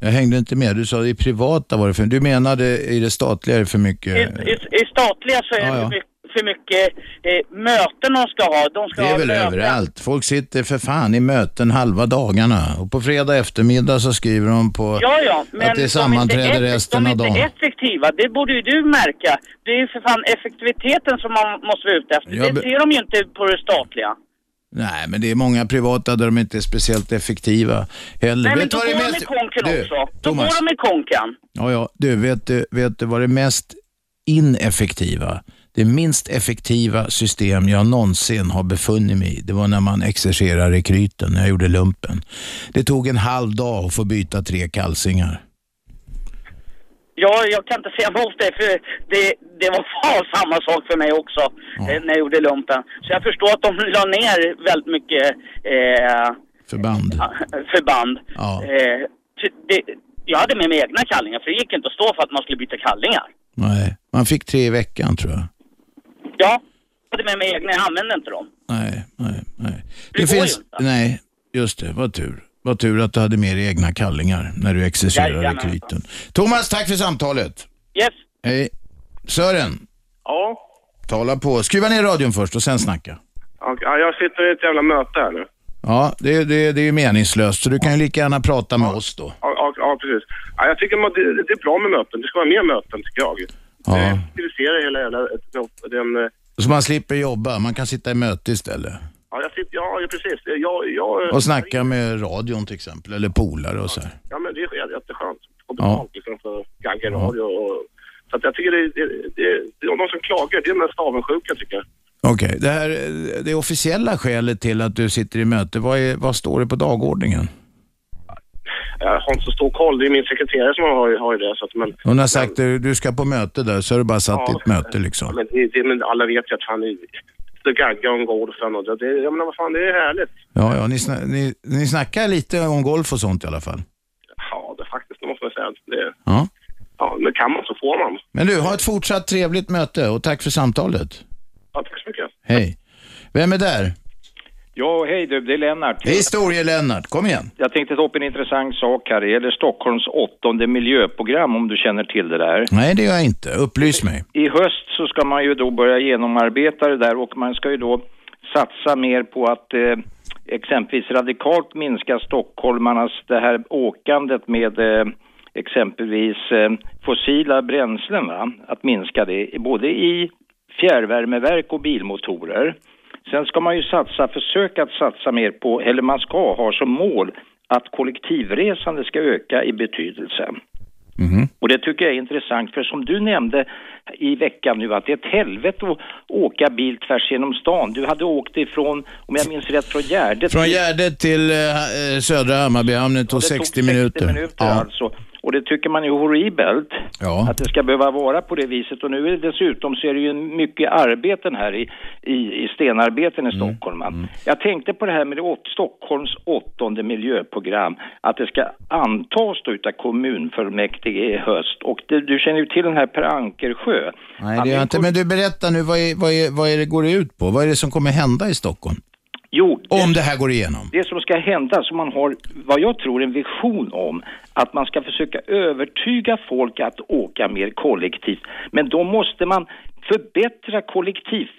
Jag hängde inte med, du sa i privata var det för Du menade i det statliga är det för mycket? I, i, i statliga så är Ja, det ja. för mycket, för mycket eh, möten de ska ha. De ska Det är ha väl möten. överallt. Folk sitter för fan i möten halva dagarna. Och på fredag eftermiddag så skriver de på Ja, ja, men de är att det inte sammanträder effek- resten de är av dagen. inte effektiva, det borde ju du märka. Det är ju för fan effektiviteten som man måste vara ute efter. Jag det be- ser de ju inte på det statliga. Nej, men det är många privata där de inte är speciellt effektiva heller. Nej, men vet du då vad det går är de mest... i konken Du, också. Då Thomas. går de i konken. Ja, ja. Du, vet, du, vet du vad det mest ineffektiva, det minst effektiva system jag någonsin har befunnit mig i, det var när man exercerar rekryten, när jag gjorde lumpen. Det tog en halv dag att få byta tre kalsingar. Ja, jag kan inte säga emot det, för det, det var fan samma sak för mig också eh, när jag gjorde lumpen. Så jag förstår att de la ner väldigt mycket eh, förband. förband. Ja. Eh, ty- det, jag hade med mig egna kallingar, för det gick inte att stå för att man skulle byta kallingar. Nej, man fick tre i veckan tror jag. Ja, jag hade med mig egna, jag använde inte dem. Nej, nej, nej. Det, finns... Nej, just det. Vad tur. Vad tur att du hade med dig egna kallingar när du exercerade Jajamensan. rekryten. Thomas, tack för samtalet. Yes. Hej. Sören, Ja. tala på. Skruva ner radion först och sen snacka. ja, jag sitter i ett jävla möte här nu. Ja, det, det, det är ju meningslöst, så du kan ju lika gärna prata med oss då. Ja, ja, ja precis. Ja, jag tycker man, det, det är bra med möten. Det ska vara mer möten, tycker jag. Ja. Effektivisera hela jävla... Den, eh, Så man slipper jobba, man kan sitta i möte istället. ja, jag sitter, ja, ja, precis. Jag, jag, eh, Och snacka med radion till exempel, eller polare och så här. Ja, men det är jä- jätteskönt. Få Ja. betalt liksom för gagga radio och... Så att jag tycker det, det, det, det är någon som klagar. Det är mest avundsjuka, tycker jag. Okej, det här det officiella skälet till att du sitter i möte, vad, är, vad står det på dagordningen? Jag har inte så stor koll. Det är min sekreterare som har, har ju det. Så att, men, Hon har sagt att du ska på möte där, så har du bara satt i ett möte ja, liksom. men, det, det, men alla vet ju att han är... Så gaggar om golfen och det, det, jag menar vad fan, det är härligt. Ja, ja, ni, sna- ni, ni snackar lite om golf och sånt i alla fall. Ja, det faktiskt, det måste man säga. Det, Ja. ja, men kan man så får man. Men du, ha ett fortsatt trevligt möte och tack för samtalet. Ja, tack så mycket. Hej. Vem är där? Ja, hej du, det är Lennart. Historie-Lennart, kom igen. Jag tänkte ta upp en intressant sak här. Det gäller Stockholms åttonde miljöprogram, om du känner till det där. Nej, det gör jag inte. Upplys mig. I höst så ska man ju då börja genomarbeta det där och man ska ju då satsa mer på att eh, exempelvis radikalt minska stockholmarnas det här åkandet med eh, exempelvis eh, fossila bränslen, va? att minska det både i fjärrvärmeverk och bilmotorer. Sen ska man ju satsa, försöka att satsa mer på, eller man ska ha som mål att kollektivresande ska öka i betydelse. Och det tycker jag är intressant, för som du nämnde i veckan nu att det är ett helvete att åka bil tvärs genom stan. Du hade åkt ifrån, om jag minns rätt, från Gärdet Från till- Gärdet till eh, södra Hammarbyhamnen tog 60 minuter. minuter alltså. Och det tycker man är horribelt, att det ska behöva vara på det viset. Och nu är det dessutom så är det ju mycket arbeten här i, i, i stenarbeten i Stockholm. va. Jag tänkte på det här med det åt, Stockholms åttonde miljöprogram, att det ska antas då utav kommunfullmäktige i höst. Och det, du känner ju till den här Per Ankersjö. Nej, det gör jag inte. Men du, berätta nu, vad är, vad, är, vad är det går det ut på? Vad är det som kommer hända i Stockholm? Jo, Om det här går igenom. Det som ska hända, som man har vad jag tror en vision om, att man ska försöka övertyga folk att åka mer kollektivt. Men då måste man förbättra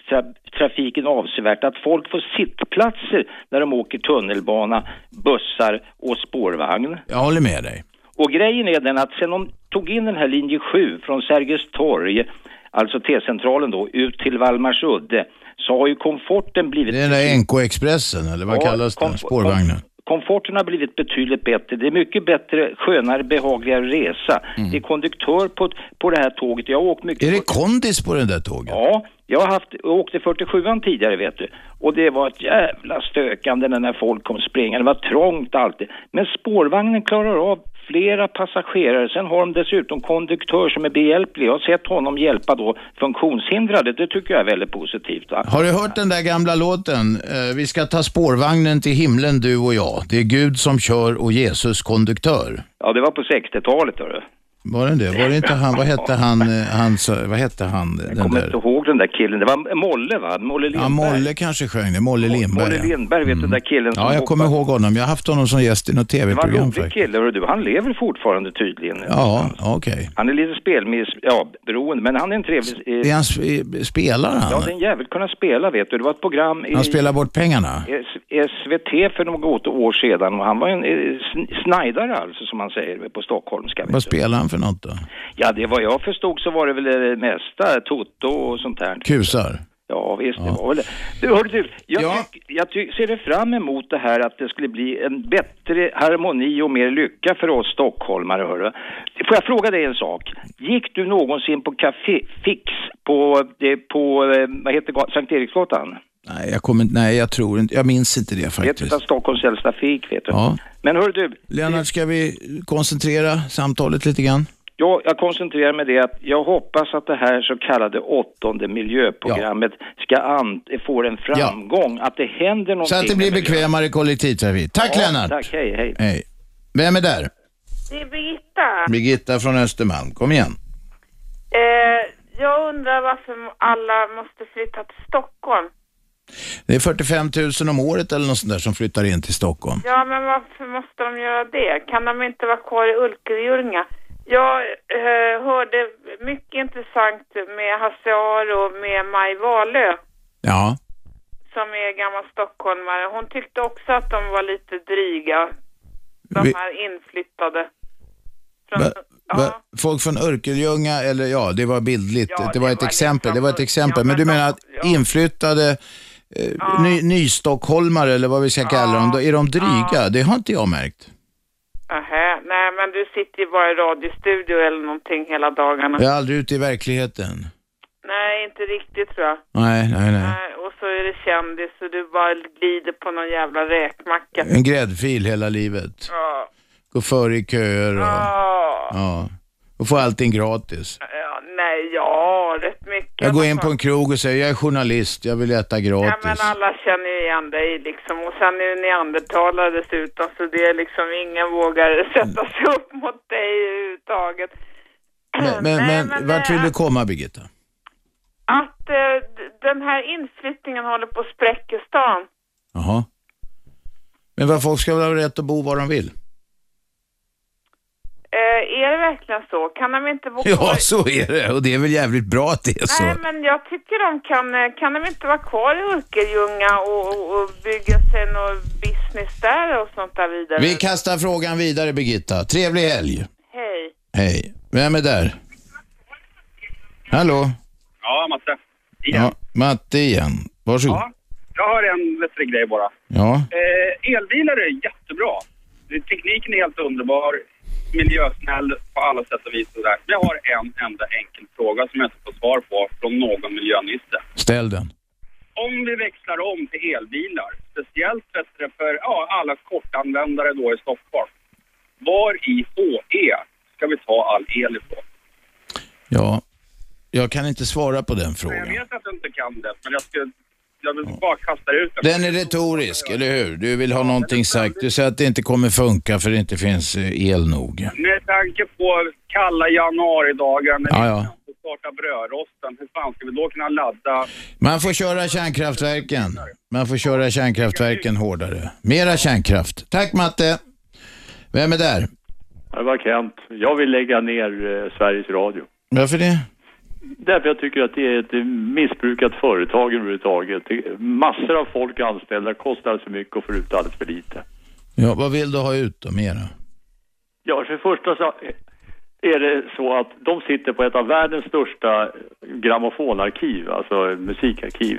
kollektivtrafiken avsevärt, att folk får sittplatser när de åker tunnelbana, bussar och spårvagn. Jag håller med dig. Och grejen är den att sen de tog in den här linje 7 från Sergels torg, alltså T-centralen då, ut till Vallmarsudde, så har ju komforten blivit... Det är den där NK-expressen, eller vad Ja, kallas den? kom- Spårvagnen. Komforten har blivit betydligt bättre. Det är mycket bättre, skönare, behagligare resa. Det är konduktör på, på det här tåget. Jag har åkt mycket... Mm. Är det kondis på den där tåget? Ja, jag har haft, jag åkte 47an tidigare vet du. Och det var ett jävla stökande när- när folk kom springande. Det var trångt alltid. Men spårvagnen klarar av flera passagerare. Sen har de dessutom konduktör som är behjälplig. Jag har sett honom hjälpa då funktionshindrade. Det tycker jag är väldigt positivt. Va? Har du hört den där gamla låten? Eh, vi ska ta spårvagnen till himlen du och jag. Det är Gud som kör och Jesus konduktör. Ja, det var på 60-talet hörru. Var den det? Var det inte han, vad hette han, eh, han sa- vad hette han eh, den Kommer där? inte ihåg den där killen. Det var Molle va? Molle Ja, Lindberg. Molle kanske sjöng det, Molle Lindberg. Molle ja. Lindberg, vet du den där killen som Mm. Ja, jag kommer hoppade. ihåg honom. Jag har haft honom som gäst i något Det var en tv-program rolig faktiskt. kille, hörru du. Han lever fortfarande tydligen. Ja, okej. Han är lite spelmiss, ja, beroende, men han är en trevlig... eh, Det är han sp- spelar Ja, han? den jävel kunna spela vet du. Det var ett program i Han spelar bort pengarna? S- SVT för något år sedan och han var en eh, sn- snajdare alltså som man säger på stockholmska. Vad spelar han för något då? Ja, det vad jag förstod så var det väl det mesta, Toto och sånt där. Kusar? Ja, visst, det var väl det. Du, hörru du, jag, tyck, jag tyck, ser det fram emot det här att det skulle bli en bättre harmoni och mer lycka för oss stockholmare, hörru. Får jag fråga dig en sak? Gick du någonsin på Café Fix på, eh, på eh, vad heter gat- Sankt Eriksgatan? Nej, jag kommer inte, nej, jag tror inte, jag minns inte det Det är ett faktiskt. av Stockholms äldsta fik, vet du. Ja. Men hörru du, Lennart, ska vi koncentrera samtalet lite grann? jag, jag koncentrerar mig det att jag hoppas att det här så kallade åttonde miljöprogrammet ska an, får en framgång, att det händer någonting. Så att det blir med miljön. bekvämare kollektivtrafik. Tack Ja, Lennart! Tack, hej, hej. Hej. Vem är där? Det är Birgitta. Birgitta från Östermalm. Kom igen. Eh, jag undrar varför alla måste flytta till Stockholm. Det är 45 000 om året eller något sånt där som flyttar in till Stockholm. Ja, men varför måste de göra det? Kan de inte vara kvar i Ulkerjunga? Jag eh, hörde mycket intressant med Hasse Aro och med Maj Wahlöö. Ja. som är gammal stockholmare, hon tyckte också att de var lite dryga. De Vi- här inflyttade. Va, va, folk från Örkelljunga, eller ja, det var bildligt. det var ett exempel. Det var ett exempel. men, du menar att inflyttade eh, ny, nystockholmare, eller vad vi ska kalla dem, då är de dryga? Det har inte jag märkt. Aha, nej men du sitter ju bara i radiostudio eller någonting hela dagarna. Jag är aldrig ute i verkligheten. Nej, inte riktigt tror jag. Nej, nej, nej. Nej, Och så är det kändis och du bara glider på någon jävla räkmacka. En gräddfil hela livet. Ja. Gå före i köer och... Ja. Och få allting gratis. Ja, nej, ja, rätt mycket. Jag går in på en krog och säger jag är journalist, jag vill äta Ja, men gratis. alla känner ju igen dig liksom. Och sen är du neandertalare dessutom så det är liksom ingen vågar *laughs* sätta sig upp mot dig överhuvudtaget. Men, men, Nej, men, men, vart eh, vill du komma Birgitta? Att eh, d- den här inflyttningen håller på att spräcka stan. Jaha. Men vad folk ska väl ha rätt att bo var de vill? Eh, är det verkligen så? Kan de inte bo *laughs* Ja, kvar? så är det. Och det är väl jävligt bra att det är så. Nej, men jag tycker de kan, eh, kan de inte vara kvar i Örkelljunga och, och, och bygga sig någon business där och sånt där vidare? Vi kastar frågan vidare Birgitta. Trevlig helg. Hej. Hej. Vem är där? Hallå? Ja, Matte. Ja, Matte igen. Varsågod. Ja. Jag har en vettig grej bara. Ja. Eh, elbilar är jättebra. Tekniken är helt underbar, miljösnäll på alla sätt och vis. Och där. Jag har en enda enkel fråga som jag inte får svar på från någon miljöminister. Ställ den. Om vi växlar om till elbilar, speciellt bättre för ja, alla kortanvändare då i Stockholm. Var i HE ska vi ta all el ifrån? Ja. Jag kan inte svara på den Jag frågan. vet att du inte kan det, men jag, skulle, jag vill bara kasta ut Den är retorisk, eller hur? Du vill ha någonting sagt. Du säger att det inte kommer funka för det inte finns eh, el nog. Med tanke på kalla januaridagar när Ja, vi ja. inte får starta brödrosten, hur fan ska vi då kunna ladda? Man får köra kärnkraftverken. Man får köra kärnkraftverken hårdare. Mera kärnkraft. Tack Matte. Vem är där? Det var Kent. Jag vill lägga ner eh, Sveriges Radio. Varför det? Därför jag tycker att det är ett eh, missbrukat företag överhuvudtaget. Det- Massor av folk är anställda, kostar alldeles för mycket och får ut alldeles för lite. Ja, vad vill du ha ut då mera? Ja, för det första så är det så att de sitter på ett av världens största grammofonarkiv, alltså eh, musikarkiv.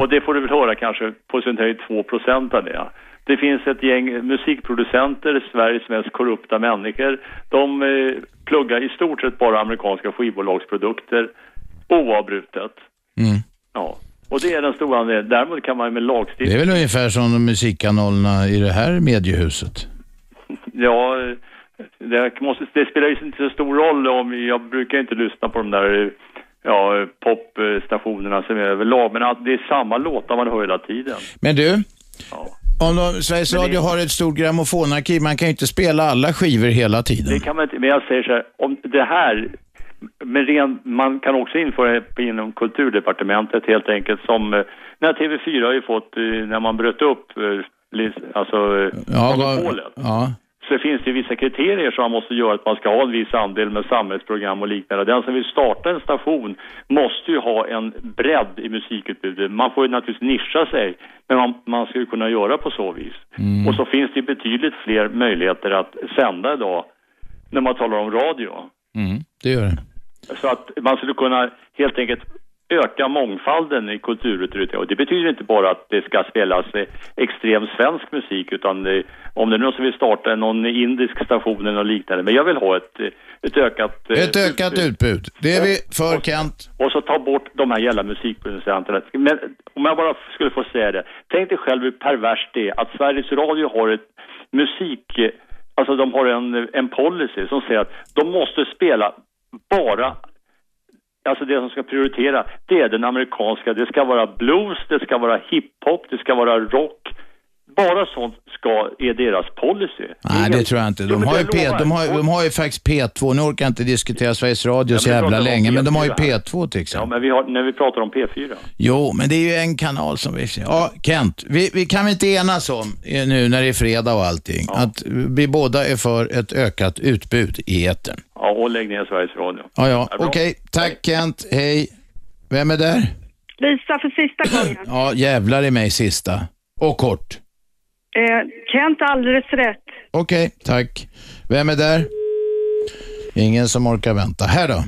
Och det får du väl höra kanske på sin höjd 2 procent av det. Det finns ett gäng musikproducenter, Sveriges mest korrupta människor. De eh, pluggar i stort sett bara amerikanska skivbolagsprodukter oavbrutet. Ja, och det är den stora anledningen. Däremot kan man ju med lagstiftning... Det är väl ungefär som de musikkanalerna i det här mediehuset? Ja, det, måste, det spelar ju inte så stor roll om, jag brukar inte lyssna på de där ja, popstationerna som är överlag, men att det är samma låtar man hör hela tiden. Men du? Om de, Sveriges Radio har ett stort grammofonarkiv, man kan ju inte spela alla skivor hela tiden. Det kan man inte, men jag säger så här, om det här, men ren, man kan också införa det på- inom kulturdepartementet helt enkelt som, eh, när TV4 har ju fått, eh, när man bröt upp, eh, lis- alltså eh, monopolet. ja. så finns det vissa kriterier som man måste göra att man ska ha en viss andel med samhällsprogram och liknande. Den som vill starta en station måste ju ha en bredd i musikutbudet. Man får ju naturligtvis nischa sig, men man, man ska ju kunna göra på så vis. Och så finns det ju betydligt fler möjligheter att sända idag när man talar om radio. Mm, det gör det. Så att man skulle kunna helt enkelt öka mångfalden i kulturutbudet. Och det betyder inte bara att det ska spelas eh, extrem svensk musik utan eh, om det är någon som vill starta någon indisk station eller något liknande. Men jag vill ha ett, eh, ett ökat... eh, Ett ökat utbud. Det är vi för Kent. och så ta bort de här jävla musikproducenterna. Men om jag bara skulle få säga det. Tänk dig själv hur perverst det är att Sveriges Radio har ett musik... Alltså de har en, en policy som säger att de måste spela bara... Alltså det som ska prioritera, det är den amerikanska. Det ska vara blues, det ska vara hiphop, det ska vara rock. Bara sånt ska, är deras policy. Nej, det tror jag inte. De har ju, P, de har, de har ju faktiskt P2. Nu orkar jag inte diskutera Sveriges Radio så Ja, men vi jävla pratar om länge, men de har ju P4 här. P2 till exempel. Ja, men vi har, när vi pratar om P4. Jo, men det är ju en kanal som vi... Ja, Kent, vi, vi kan vi inte enas om eh, nu när det är fredag och allting, att vi båda är för ett ökat utbud i etern. Ja, och lägg ner Sveriges Radio. Ja, ja, Ja, bra. okej. Tack Kent, hej. Vem är där? Lisa, för sista gången. Ja, jävlar i mig sista. Och kort. Eh, Kent har alldeles rätt. Okej, tack. Vem är där? Ingen som orkar vänta. Här då.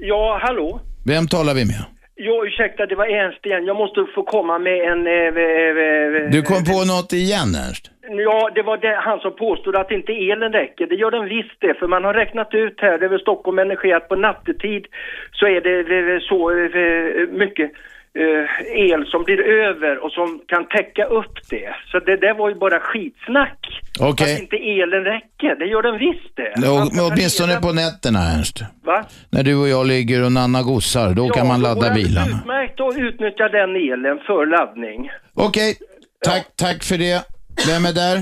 Ja, hallå? Vem talar vi med? Ja, ursäkta, det var Ernst igen. Jag måste få komma med en... eh, eh, eh, Du kom på något igen, Ernst? Ja, det var det, han som påstod att inte elen räcker. Det gör den visst det, för man har räknat ut här över Stockholm Energi att på nattetid så är det eh, så eh, mycket eh, el som blir över och som kan täcka upp det. Så det där var ju bara skitsnack. Okej. Att inte elen räcker, det gör den visst det. Nå- Åtminstone på nätterna, Ernst. Va? När du och jag ligger och Nanna gossar, då kan man då går ladda det bilarna. Utmärkt att utnyttja den elen för laddning. Okej, tack, tack för det. Vem är där?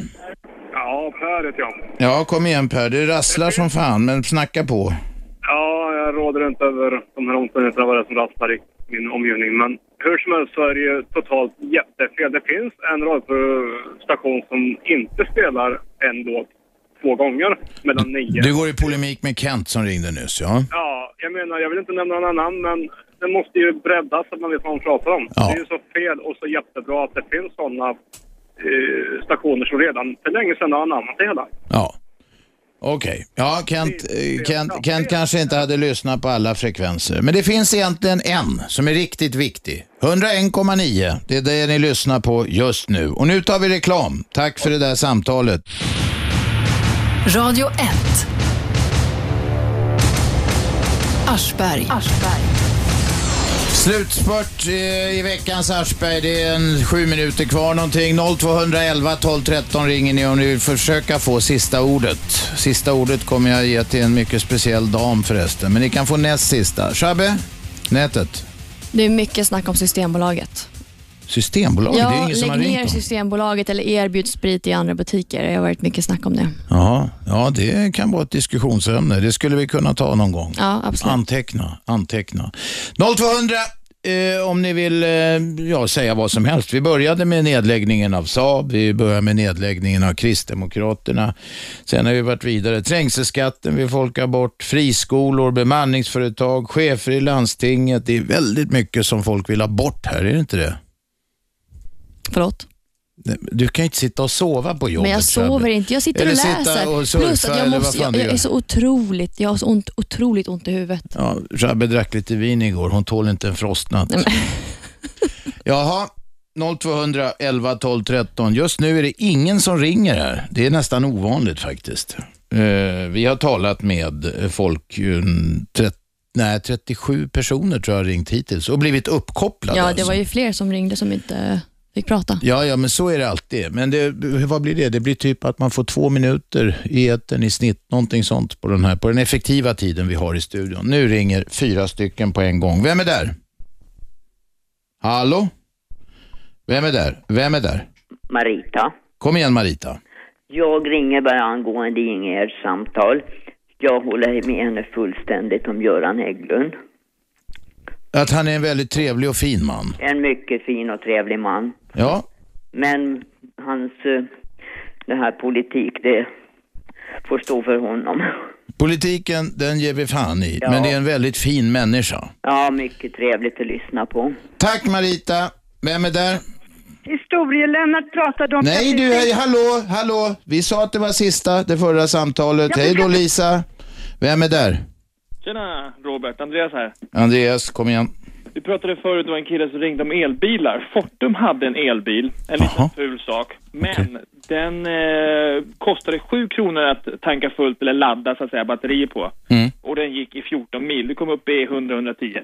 Ja, Per heter jag. Ja, kom igen Per. Det rasslar som fan, men snacka på. Ja, jag råder inte över de här omständigheterna vad det är som rasslar i min omgivning. Men hur som helst så är det ju totalt jättefel. Det finns en radiostation som inte spelar en låt två gånger mellan nio. Du Mm. går i polemik med Kent som ringde nyss, ja. Ja, jag menar, jag vill inte nämna några namn, men det måste ju breddas så att man vet vad man pratar om. Ja. Det är ju så fel och så jättebra att det finns sådana eh, stationer som redan för länge sedan har anammat det hela. Ja. Okej. Ja, Kent, eh, Kent, Kent kanske inte hade lyssnat på alla frekvenser. Men det finns egentligen en som är riktigt viktig. 101,9. Det är det ni lyssnar på just nu. Och nu tar vi reklam. Tack för det där samtalet. Radio 1. Aschberg. Slutspurt eh, i veckans Aschberg. Det är en sju minuter kvar någonting. 0211 12 13 ringer ni om ni vill försöka få sista ordet. Sista ordet kommer jag ge till en mycket speciell dam förresten. Men ni kan få näst sista. Shabbe, nätet. Det är mycket snack om Systembolaget. Systembolaget, det är ingen som har lägg ner ringt om. Systembolaget eller erbjud sprit i andra butiker. Det har varit mycket snack om det. Jaha, ja det kan vara ett diskussionsämne. Det skulle vi kunna ta någon gång. Ja, absolut. Anteckna, anteckna. 0200 eh, om ni vill eh, ja, säga vad som helst. Vi började med nedläggningen av Saab, vi började med nedläggningen av Kristdemokraterna. Sen har vi varit vidare. Trängselskatten vill folk ha bort, friskolor, bemanningsföretag, chefer i landstinget. Det är väldigt mycket som folk vill ha bort här, är det inte det? Förlåt? Du kan ju inte sitta och sova på jobbet. Men jag sover Shabbe. inte, jag sitter Eller och sitta läser. och surfa, Plus att jag, eller vad måste, fan jag, du jag gör. är så otroligt, jag har så ont, otroligt ont i huvudet. Ja, Shabbe drack lite vin igår. Hon tål inte en frostnatt. *laughs* Jaha, 0200 11 12 13. Just nu är det ingen som ringer här. Det är nästan ovanligt faktiskt. Eh, vi har talat med folk, ju, tret- nej, 37 personer tror jag har ringt hittills och blivit uppkopplade. Ja, det alltså. var ju fler som ringde som inte fick prata. Ja, ja, men så är det alltid. Men det, vad blir det? Det blir typ att man får två minuter i etern i snitt, någonting sånt på den här, på den effektiva tiden vi har i studion. Nu ringer fyra stycken på en gång. Vem är där? Hallå? Vem är där? Vem är där? Marita. Kom igen Marita. Jag ringer bara angående Ingegärds samtal. Jag håller med henne fullständigt om Göran Hägglund. Att han är en väldigt trevlig och fin man. En mycket fin och trevlig man. Ja, Men hans, eh, det här politik, det får stå för honom. *laughs* politiken den ger vi fan i, men det är en väldigt fin människa. Ja, mycket trevligt att lyssna på. Tack Marita. Vem är där? Historie-Lennart pratade om... Nej du, hej, hallå, hallå. Vi sa att det var sista, det förra samtalet. Hej då Lisa. Vem är där? Tjena Robert, Andreas här. Andreas, kom igen. Vi pratade förut om en kille som ringde om elbilar. Fortum hade en elbil, en liten ful sak. Men den eh, kostade 7 kronor att tanka fullt eller ladda så att säga batterier på. Mm. Och den gick i 14 mil. Du kom upp i 100-110.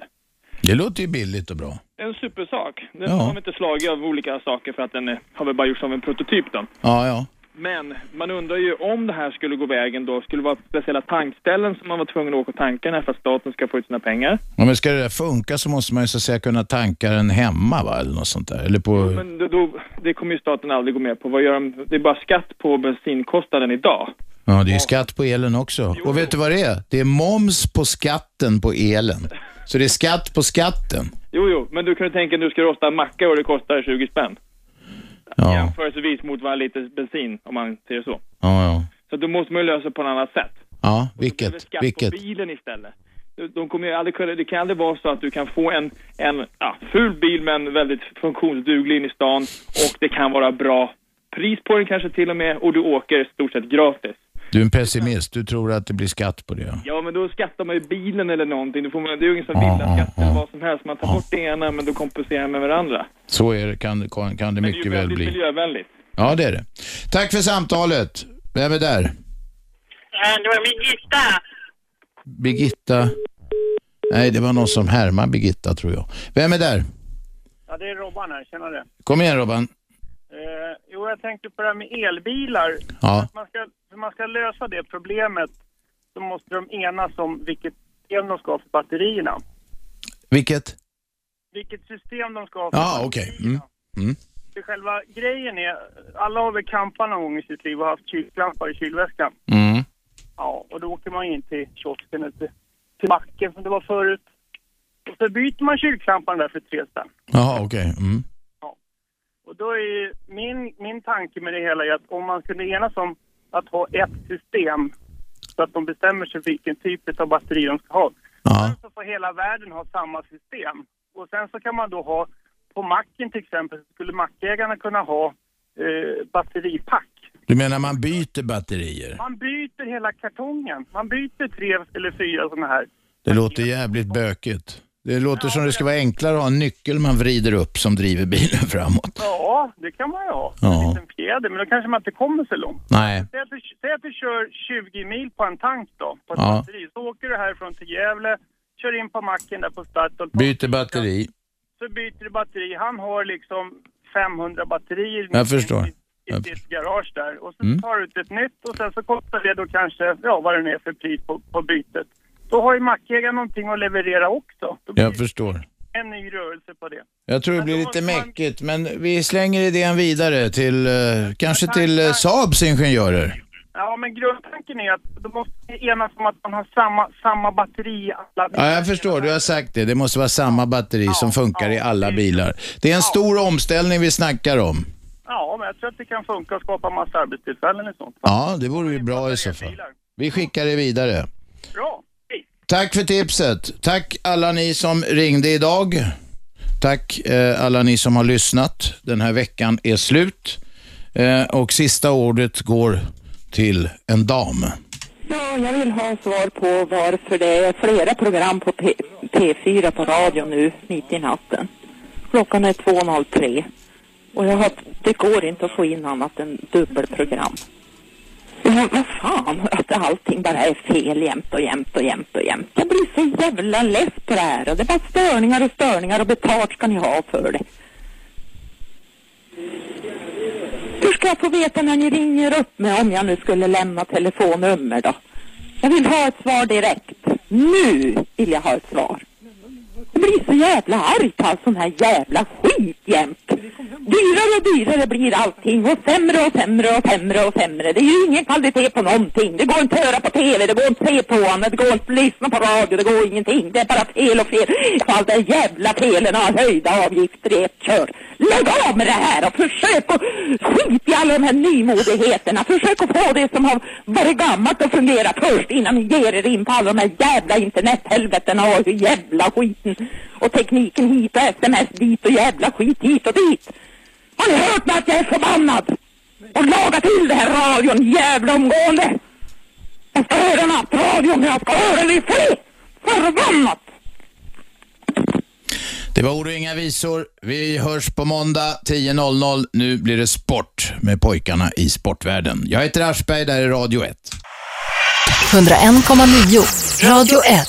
Det låter ju billigt och bra. En supersak. Den Ja. har väl inte slagit av olika saker för att den eh, har väl bara gjorts som en prototyp då. Ja, ja. Men man undrar ju om det här skulle gå vägen då. Skulle det vara speciella tankställen som man var tvungen att åka och tanka när för att staten ska få ut sina pengar? ja men ska det där funka så måste man ju så att säga kunna tanka den hemma va, eller något sånt där. Eller på... Men då, då, det kommer ju staten aldrig gå med på. Vad gör de? Det är bara skatt på bensinkostnaden idag. Ja, det är ju skatt på elen också. Och vet du vad det är? Det är moms på skatten på elen. Så det är skatt på skatten. Jo, jo, men du kan ju tänka nu ska du rosta en macka och det kostar 20 spänn. Ja, Jämförelsevis mot vad en liter bensin, om man ser det så. ja, ja. Så då måste man ju lösa det på ett annat sätt. Ja, Det är väl vilket, skatt vilket. på bilen istället. de kommer ju aldrig kunna, det kan aldrig vara så att du kan få en, en ja, ful bil men väldigt funktionsduglig in i stan och det kan vara bra pris på den kanske till och med och du åker i stort sett gratis. Du är en pessimist. Du tror att det blir skatt på det. Ja, men då skattar man ju bilen eller någonting. Då får man, det är ju ingen som villaskatt eller vad som helst. Man tar bort det ena men då kompenserar med varandra. Så är det, kan, kan, kan det Men det är ju mycket väl väldigt bli. miljövänligt. Ja, det är det. Tack för samtalet. Vem är där? Eh, Det var Birgitta. Birgitta? Nej, det var någon som härmar Birgitta, tror jag. Vem är där? Ja, det är Robban här. Tjena du. Kom igen, Robban. Eh, jo, jag tänkte på det här med elbilar. Ja. Att man ska, för man ska lösa det problemet så måste de enas om vilket system de ska ha för batterierna. Vilket? Vilket system de ska ha för Ja, okej. Mm. Mm. För själva grejen är, alla har väl campat någon gång i sitt liv och haft kylklampar i kylväskan. Mm. Ja, och då åker man in till kiosken eller till, till macken som det var förut. Och så byter man kylklamparna där för tre spänn. Jaha, okej. Mm. Och då är ju min, min tanke med det hela är att om man kunde enas om att ha ett system så att de bestämmer sig vilken typ av batteri de ska ha. Sen så får hela världen ha samma system. Och sen så kan man då ha, på macken till exempel, så skulle mackägarna kunna ha eh, batteripack. Du menar man byter batterier? Man byter hela kartongen. Man byter tre eller fyra sådana här. Det låter jävligt bökigt. Det låter som det ska vara enklare att ha en nyckel man vrider upp som driver bilen framåt. Ja, det kan man ju ha. En Ja. liten fjäder, men då kanske man inte kommer så långt. Nej. Säg att, du, säg att du kör 20 mil på en tank då, på ett Ja. batteri. Så åker du härifrån till Gävle, kör in på macken där på Statoil, Byter batteri. så byter du batteri. Han har liksom 500 batterier Jag förstår. i sitt garage där. Och så Mm. tar du ut ett nytt och sen så kostar det då kanske, ja vad det är för pris på, på bytet. Då har ju mackägaren någonting att leverera också. Då blir Jag förstår. det en ny rörelse på det. Jag tror det blir lite mäckigt, men vi slänger idén vidare till, eh, kanske till eh, Saabs ingenjörer. Ja, men grundtanken är att då måste vi enas om att man har samma, samma batteri i alla Ja, jag förstår, du har sagt det. Det måste vara samma batteri som funkar i alla bilar. Det är en stor omställning vi snackar om. Ja, men jag tror att det kan funka och skapa massa arbetstillfällen i sånt. Ja, det vore ju bra i så fall. Vi skickar det vidare. Bra! Tack för tipset. Tack alla ni som ringde idag. Tack eh, alla ni som har lyssnat. Den här veckan är slut. Eh, och sista ordet går till en dam. Ja, jag vill ha svar på varför det är flera program på P- P4 på radio nu mitt i natten. Klockan är 2.03 och jag har, det går inte att få in annat än dubbelprogram. Men vad fan, att allting bara är fel jämt och jämt och jämt och jämt. Jag blir så jävla less på det här och det är bara störningar och störningar och betalt ska ni ha för det. Hur ska jag få veta när ni ringer upp mig om jag nu skulle lämna telefonnummer då? Jag vill ha ett svar direkt. Nu vill jag ha ett svar. Jag blir så jävla arg på all sån här jävla skit jämt. Dyrare och dyrare blir allting och sämre och sämre och sämre och sämre. Det är ju ingen kvalitet på någonting. Det går inte att höra på TV, det går inte att se på annat, det går inte att lyssna på radio, det går ingenting. Det är bara fel och fel. Allt det jävla felen har höjda avgifter i ett kör. Lägg av med det här och försök att skit i alla de här nymodigheterna. Försök att få det som har varit gammalt att fungera först innan ni ger er in på alla de här jävla internethelvetena och jävla skiten. Och tekniken hit och sms dit och jävla skit hit och dit. Har ni hört mig att jag är förbannad? Och laga till det här radion jävla omgående! Jag ska höra nattradion, jag ska höra det i fred! Förbannat! Det var ord och inga visor. Vi hörs på måndag 10.00. Nu blir det sport med pojkarna i sportvärlden. Jag heter Aschberg, där är Radio 1. 101,9. Radio 1.